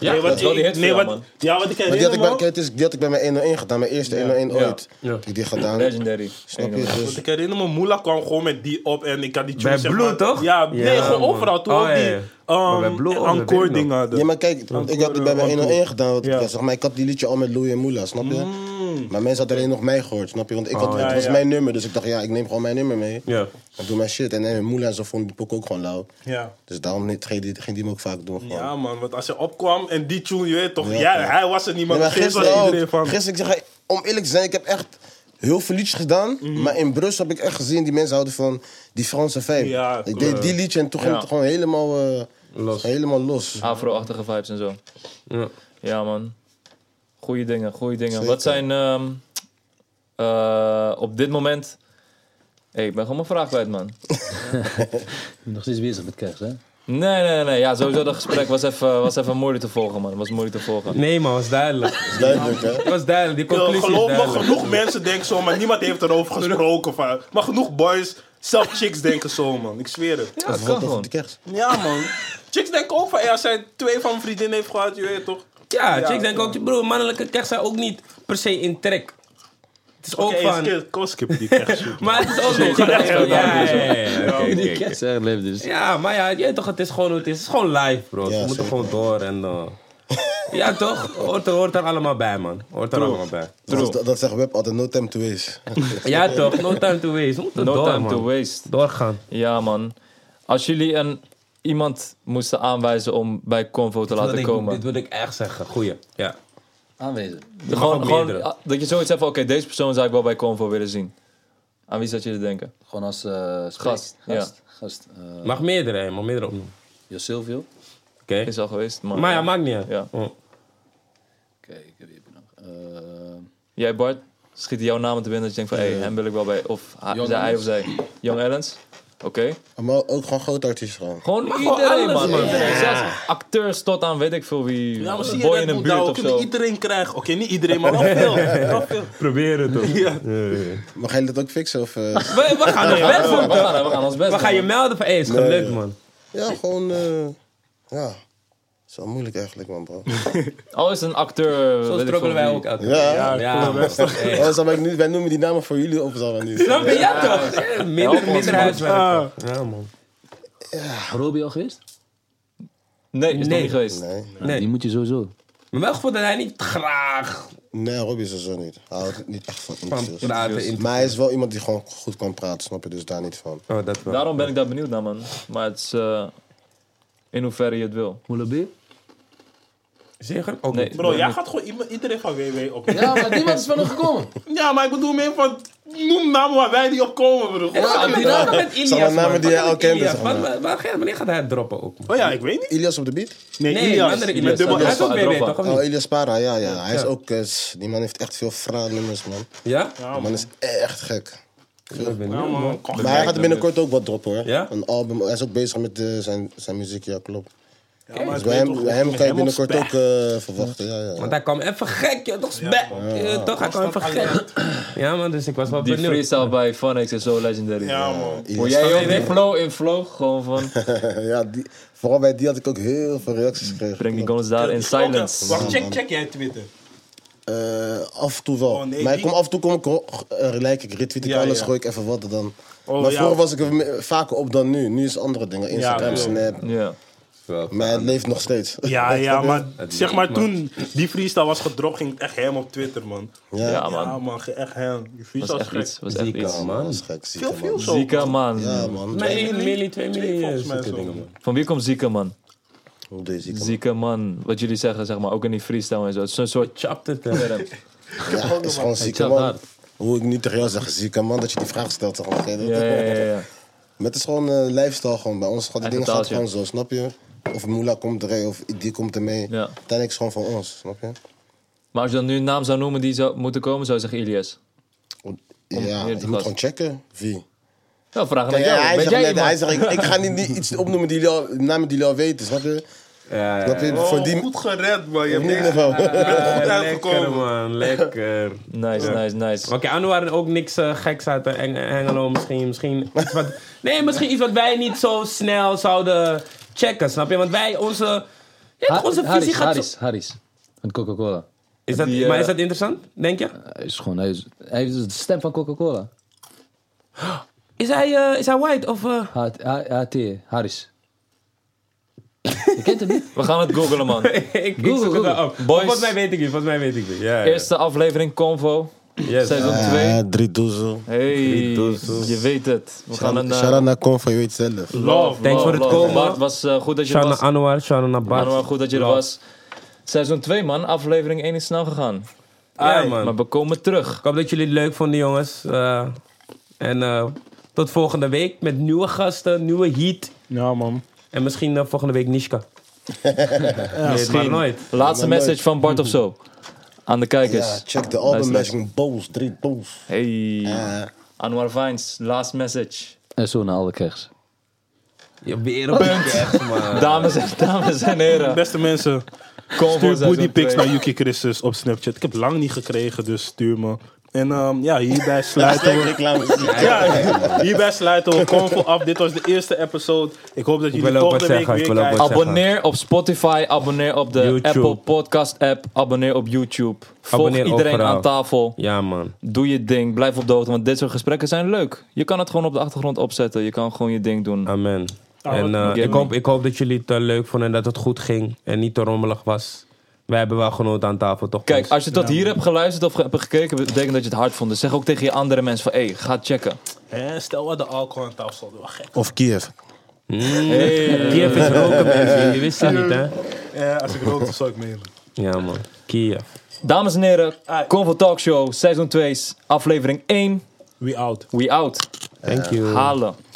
Ja, nee, dat want is wel die ik- hit voor nee, jou, want- man. Ja, want Maar ik die had herinner ik bij, me... kijk, het is- die had ik bij mijn 101 gedaan, mijn eerste 101 ooit. Ja. Heb ik die gedaan. Legendary. Snap je? Want Dus, ik herinner me, Moela kwam gewoon met die op en ik had die tune Bij zeg Blue, maar- toch? Ja, nee, Ja, gewoon man. overal. Toen Oh, ook ja, ja. Maar die bij um, Blue ook, dat weet encore ik nog. dingen dus- hadden. ja, maar kijk, ik had het bij mijn 101 gedaan. want ik- Ja. Mm. ja, zeg maar, ik had die liedje al met Louie en Moela, snap je? Maar mensen hadden alleen nog mij gehoord, snap je? Want ik had, Oh, ja, het was ja. mijn nummer, dus ik dacht, ja, ik neem gewoon mijn nummer mee. Ja. En doe mijn shit. En, en Moela en zo vonden die pok ook gewoon lauw. Ja. Dus daarom niet- ging die, ging die me ook vaak doen. gewoon. Ja, man, want als je opkwam en die tune, je weet toch, ja, Ja, ja. hij was er niet, maar, Nee, maar steeds was gisteren iedereen ook. van. Gisteren, ik zeg, je, om eerlijk te zijn, ik heb echt heel veel liedjes gedaan. Mhm. Maar in Brussel heb ik echt gezien, die mensen houden van die Franse vibe. Ja, ik klopt. deed die liedje en toen ging Ja. het gewoon helemaal eh, Helemaal los. Ah, Afro-achtige vibes en zo. Ja. Ja, man. Goeie dingen, goeie dingen. Zeker. Wat zijn ehm, eh, op dit moment. Hey, ik ben gewoon mijn vraag kwijt, man. Nog steeds bezig met kerst, hè? Nee, nee, nee. Ja, sowieso dat gesprek was even, was even moeilijk te volgen, man. Was moeilijk te volgen. Nee, man, was duidelijk. Dat is duidelijk, hè? Het was duidelijk. Die Ik conclusie is geloof me, duidelijk. genoeg mensen denken zo, maar niemand heeft erover gesproken. Van. Maar genoeg boys, zelf chicks denken zo, man. Ik zweer het. Ja, dat kan Wat over gewoon. de kerst? Ja, man. Chicks denken ook van, ja, als zij twee van mijn vriendinnen heeft gehad, je weet toch. Ja, Ja. chicks denken ook, broer, mannelijke kerst zijn ook niet per se in trek. Het is ook Oké, van... skip- Kom, skip die echt shoot. Maar het is ook een ja, ja, ja, ja, ja. Die kerst, hè? Leef dus. Ja, maar ja, je weet toch, het is gewoon hoe het is. Het is gewoon live, bro. Ja, We moeten zeker. gewoon door en... eh, Ja, toch? Hoort er, hoort er allemaal bij, man. hoort er allemaal bij. Dat, is- dat zegt Web altijd, no time to waste. Ja, toch? No time to waste. We moeten No door, time man. to waste. Doorgaan. Ja, man. Als jullie een, iemand moesten aanwijzen om bij Convo te Wat laten ik- Dit komen. wil ik echt zeggen. Goeie. Ja. Aanwezig. Gewoon, ook gewoon meerdere. ah, dat je zoiets hebt van: oké, deze persoon zou ik wel bij Convo willen zien. Aan wie zat je te denken? Gewoon als eh, spreek- Gast, ja. Gast. Gast. Eh, Mag meerdere, hè. Mag meerdere opnoemen. Jo Silvio. Oké. Is al geweest, maar. Maar ja, maakt niet uit. Ja. Mm. Oh. Kijk, ik heb hier nog. Eh, Jij Bart, schiet jouw naam te binnen dat je denkt van, hé, hey, hem wil ik wel bij, of ha- Young zij, hij of zij. Young Ellens? Oké. Maar ook gewoon grote artiesten gewoon. Gewoon gewoon iedereen, alles, man. man. Iedereen. Zelfs acteurs tot aan weet ik veel wie. Ja, maar zie boy je in dat een moet daar buurt of ook zo. niet iedereen krijgen. Oké, niet iedereen, maar wel veel. Wel veel. Proberen toch. Ja. Maar ga je dat ook fixen? Of, eh, We, we gaan ons best We doen. gaan, we gaan ons best We gaan je doen, man. melden van, hé, is gelukt, man. ja, gewoon... eh, ja, is wel moeilijk eigenlijk, man, bro. Al is een acteur, Zo weet ik veel struggelen wij wie. ook elke Ja, Ja, man. Oh, zal ik niet, wij noemen die namen voor jullie of zal dat niet? Snap je? Ja, toch? Eh, Minder, Help ons, minder man. huiswerk. Ja, man. Robbie al geweest? Nee, is nog Nee. niet geweest. Nee. Die moet je sowieso. Maar wel gevoel dat hij niet graag Nee, Robbie is er zo niet. Hij houdt niet echt van interviews. praten, interviews. Maar hij is wel iemand die gewoon goed kan praten, snap je? Dus daar niet van. Oh, dat wel. Daarom ben ik daar benieuwd naar, man. Maar het is eh, in hoeverre je het wil. Moele bier? Zeker? Ook Nee. niet. Bro, jij gaat gewoon iemand- iedereen van WW op. Ja, maar niemand is van hem gekomen. Ja, maar ik bedoel meer van... Noem namen waar wij niet op komen, bro. Wat Gewoon- gaat met Ilias, Zijn er namen man? die Wat jij al met kent, Ilias? zeg Wat- maar? wat- wat- Wanneer gaat hij het droppen ook? Oh ja, ik weet niet. Ilias op de beat? Nee, Nee, Ilias. een andere Met Ilias. dubbel Hij is S. ook Ilias. BB, toch? Of Oh, niet? Ilias Para, ja, ja. Hij is ook... eh, die man heeft echt veel fraai-nummers, man. Oh, Ja? Die man is echt gek. Ik ben Ja, benieuwd. man. Kom, Maar hij gaat binnenkort ook wat droppen, hoor. Ja? Een album. Hij is ook bezig met eh, zijn, zijn muziek, ja, klopt. ja, maar Dus ik bij weet hem, toch- bij hem kan je op binnenkort spek. ook eh, verwachten, ja, ja. Want hij kwam even gek, joh. Toch spek. Eh, Toch, hij kwam even gek. Ja, man, dus ik was wel Die benieuwd. freestyle bij Phonics is zo legendary. Ja, man. Hoe jij ook die flow in vloog, gewoon van... ja, die, vooral bij die had ik ook heel veel Mm, reacties gekregen. Breng die goals daar in silence. Wacht, check, check jij Twitter. Eh, af en toe wel. Oh, nee, maar ik die- kom af en toe kom ik, wel- eh, like ik, retweet ik Ja, alles, ja. gooi ik even wat er dan. Oh, maar ja. vroeger was ik er me- vaker op dan nu. Nu is andere dingen. Instagram, Ja, Snap. Ja. Maar het leeft nog steeds. Ja, ja, maar zeg maar toen die freestyle was gedropt, ging het echt hem op Twitter, man. Ja, Ja, ja man. Ja, man, ge- echt hem. Die was freestyle is echt gek. iets. was echt iets. man. Dat is gek. Zieke, Veel man. views ook. Zika man. Ja, man. Maar 1 milli, 2 milli, eh, volgens mij zulke zo. dingen, man. Van wie komt Zika man? Hoe doe je zieke, man? Zika man. Wat jullie zeggen, zeg maar. Ook in die freestyle en zo. Het is een soort... Chapt het, eh. Ja, het is gewoon zieke, telt man. hard. Hoe ik nu tegen jou zeg, zieke man, dat je die vraag stelt. Toch? Oké, dat- Ja, ja, ja, ja. Maar het is gewoon eh lifestyle gewoon. Bij ons gaat die Eigen dingen gaat taaltje. gewoon zo, snap je? Of Moela komt er, of die komt er mee. Ja. Uiteindelijk is het gewoon van ons, snap je? Maar als je dan nu een naam zou noemen die zou moeten komen, zou je zeggen Ilias. Ja, hier je te moet gast. gewoon checken wie. Ja, vragen naar Kijk, jou. hij, Ben zegt jij net- hij iemand? zegt, ik, ik ga niet, niet iets opnoemen die jullie al, namen die jullie al weten, snap je? Ja, ja. Snap je? Voor Oh, die goed gered, man. Je hebt in ieder niks geval. Ah, Lekker, uitgekomen. man. Lekker. Nice, nice, Maar nice. Oké, Anouar ook niks eh, geks uit de Eng- Engelo. Misschien, misschien iets wat... Nee, misschien iets wat wij niet zo snel zouden checken, snap je? Want wij, onze... Ja, Ha- toch, onze visie Harris, gaat zo- Harris, Harris. Van Coca-Cola. Is dat, Die, eh, maar is dat interessant, denk je? Hij is gewoon, hij, is, hij heeft de stem van Coca-Cola. Is hij, eh, is hij white of... eh, H- H- HT, Harris. Je kent hem niet? We gaan het googlen, man. ik, ik zoek Google, het wel Google. op. Maar Boys. Volgens mij weet ik niet, volgens mij weet ik niet. Ja, ja. Eerste aflevering Convo, Yes. seizoen 2. Ja, drie doezel. Hey, je weet het. We gaan een... eh, Shout-out naar Conf, je weet het zelf. Love. Thanks voor het komen. Bart, was eh, goed dat je er Shout-out was. naar Anouar, shout-out naar Bart. Anwar, goed dat je er Love. was. Seizoen 2, man. Aflevering 1 is snel gegaan. Ja, Maar man. we komen terug. Ik hoop dat jullie het leuk vonden, jongens. Eh, en eh, tot volgende week met nieuwe gasten, nieuwe heat. Ja, man. En misschien eh, volgende week Nishka. nee, maar nooit. Laatste Maar leuk. message van Bart of zo. Aan de Ja, kijkers. check de album Luister. Magic Bowls, drie doels. Hey. Ja. Anwar Vines, last message. En zo naar alle krijgs. Je weer op echt, man. Dames en, dames en heren. Beste mensen, Convo stuur seizoen bodypics naar twee. Yuki Christus op Snapchat. Ik heb lang niet gekregen, dus stuur me. En ehm, ja, hierbij sluiten we... Ja, hierbij sluiten we Convo af. Dit was de eerste episode. Ik hoop dat jullie wil ook volgende wat week zeggen, ik weer wil ook kijken. wat Abonneer op Spotify, abonneer op de YouTube. Apple Podcast app, abonneer op YouTube. Volg Abonneer iedereen overal. aan tafel. Ja, man. Doe je ding, blijf op de hoogte, want dit soort gesprekken zijn leuk. Je kan het gewoon op de achtergrond opzetten, je kan gewoon je ding doen. Amen. En eh, ik, hoop, ik hoop dat jullie het eh, leuk vonden en dat het goed ging en niet te rommelig was. Wij hebben wel genoten aan tafel, toch? Kijk, Ons? als je tot hier hebt geluisterd of ge- hebt gekeken, betekent dat je het hard vond. Dus zeg ook tegen je andere mensen van, hé, hey, ga checken. Hè, Stel wat de alcohol aan tafel stond. Wel gek. Of Kiev. Kiev is roken, mensen. Jullie wisten het niet, hè? Ja, als ik rookte, zou ik meenemen. Ja, man. Kiev. Dames en heren, Ai. Convo Talk Show, seizoen 2, aflevering 1. We out. We out. Thank you. Halen.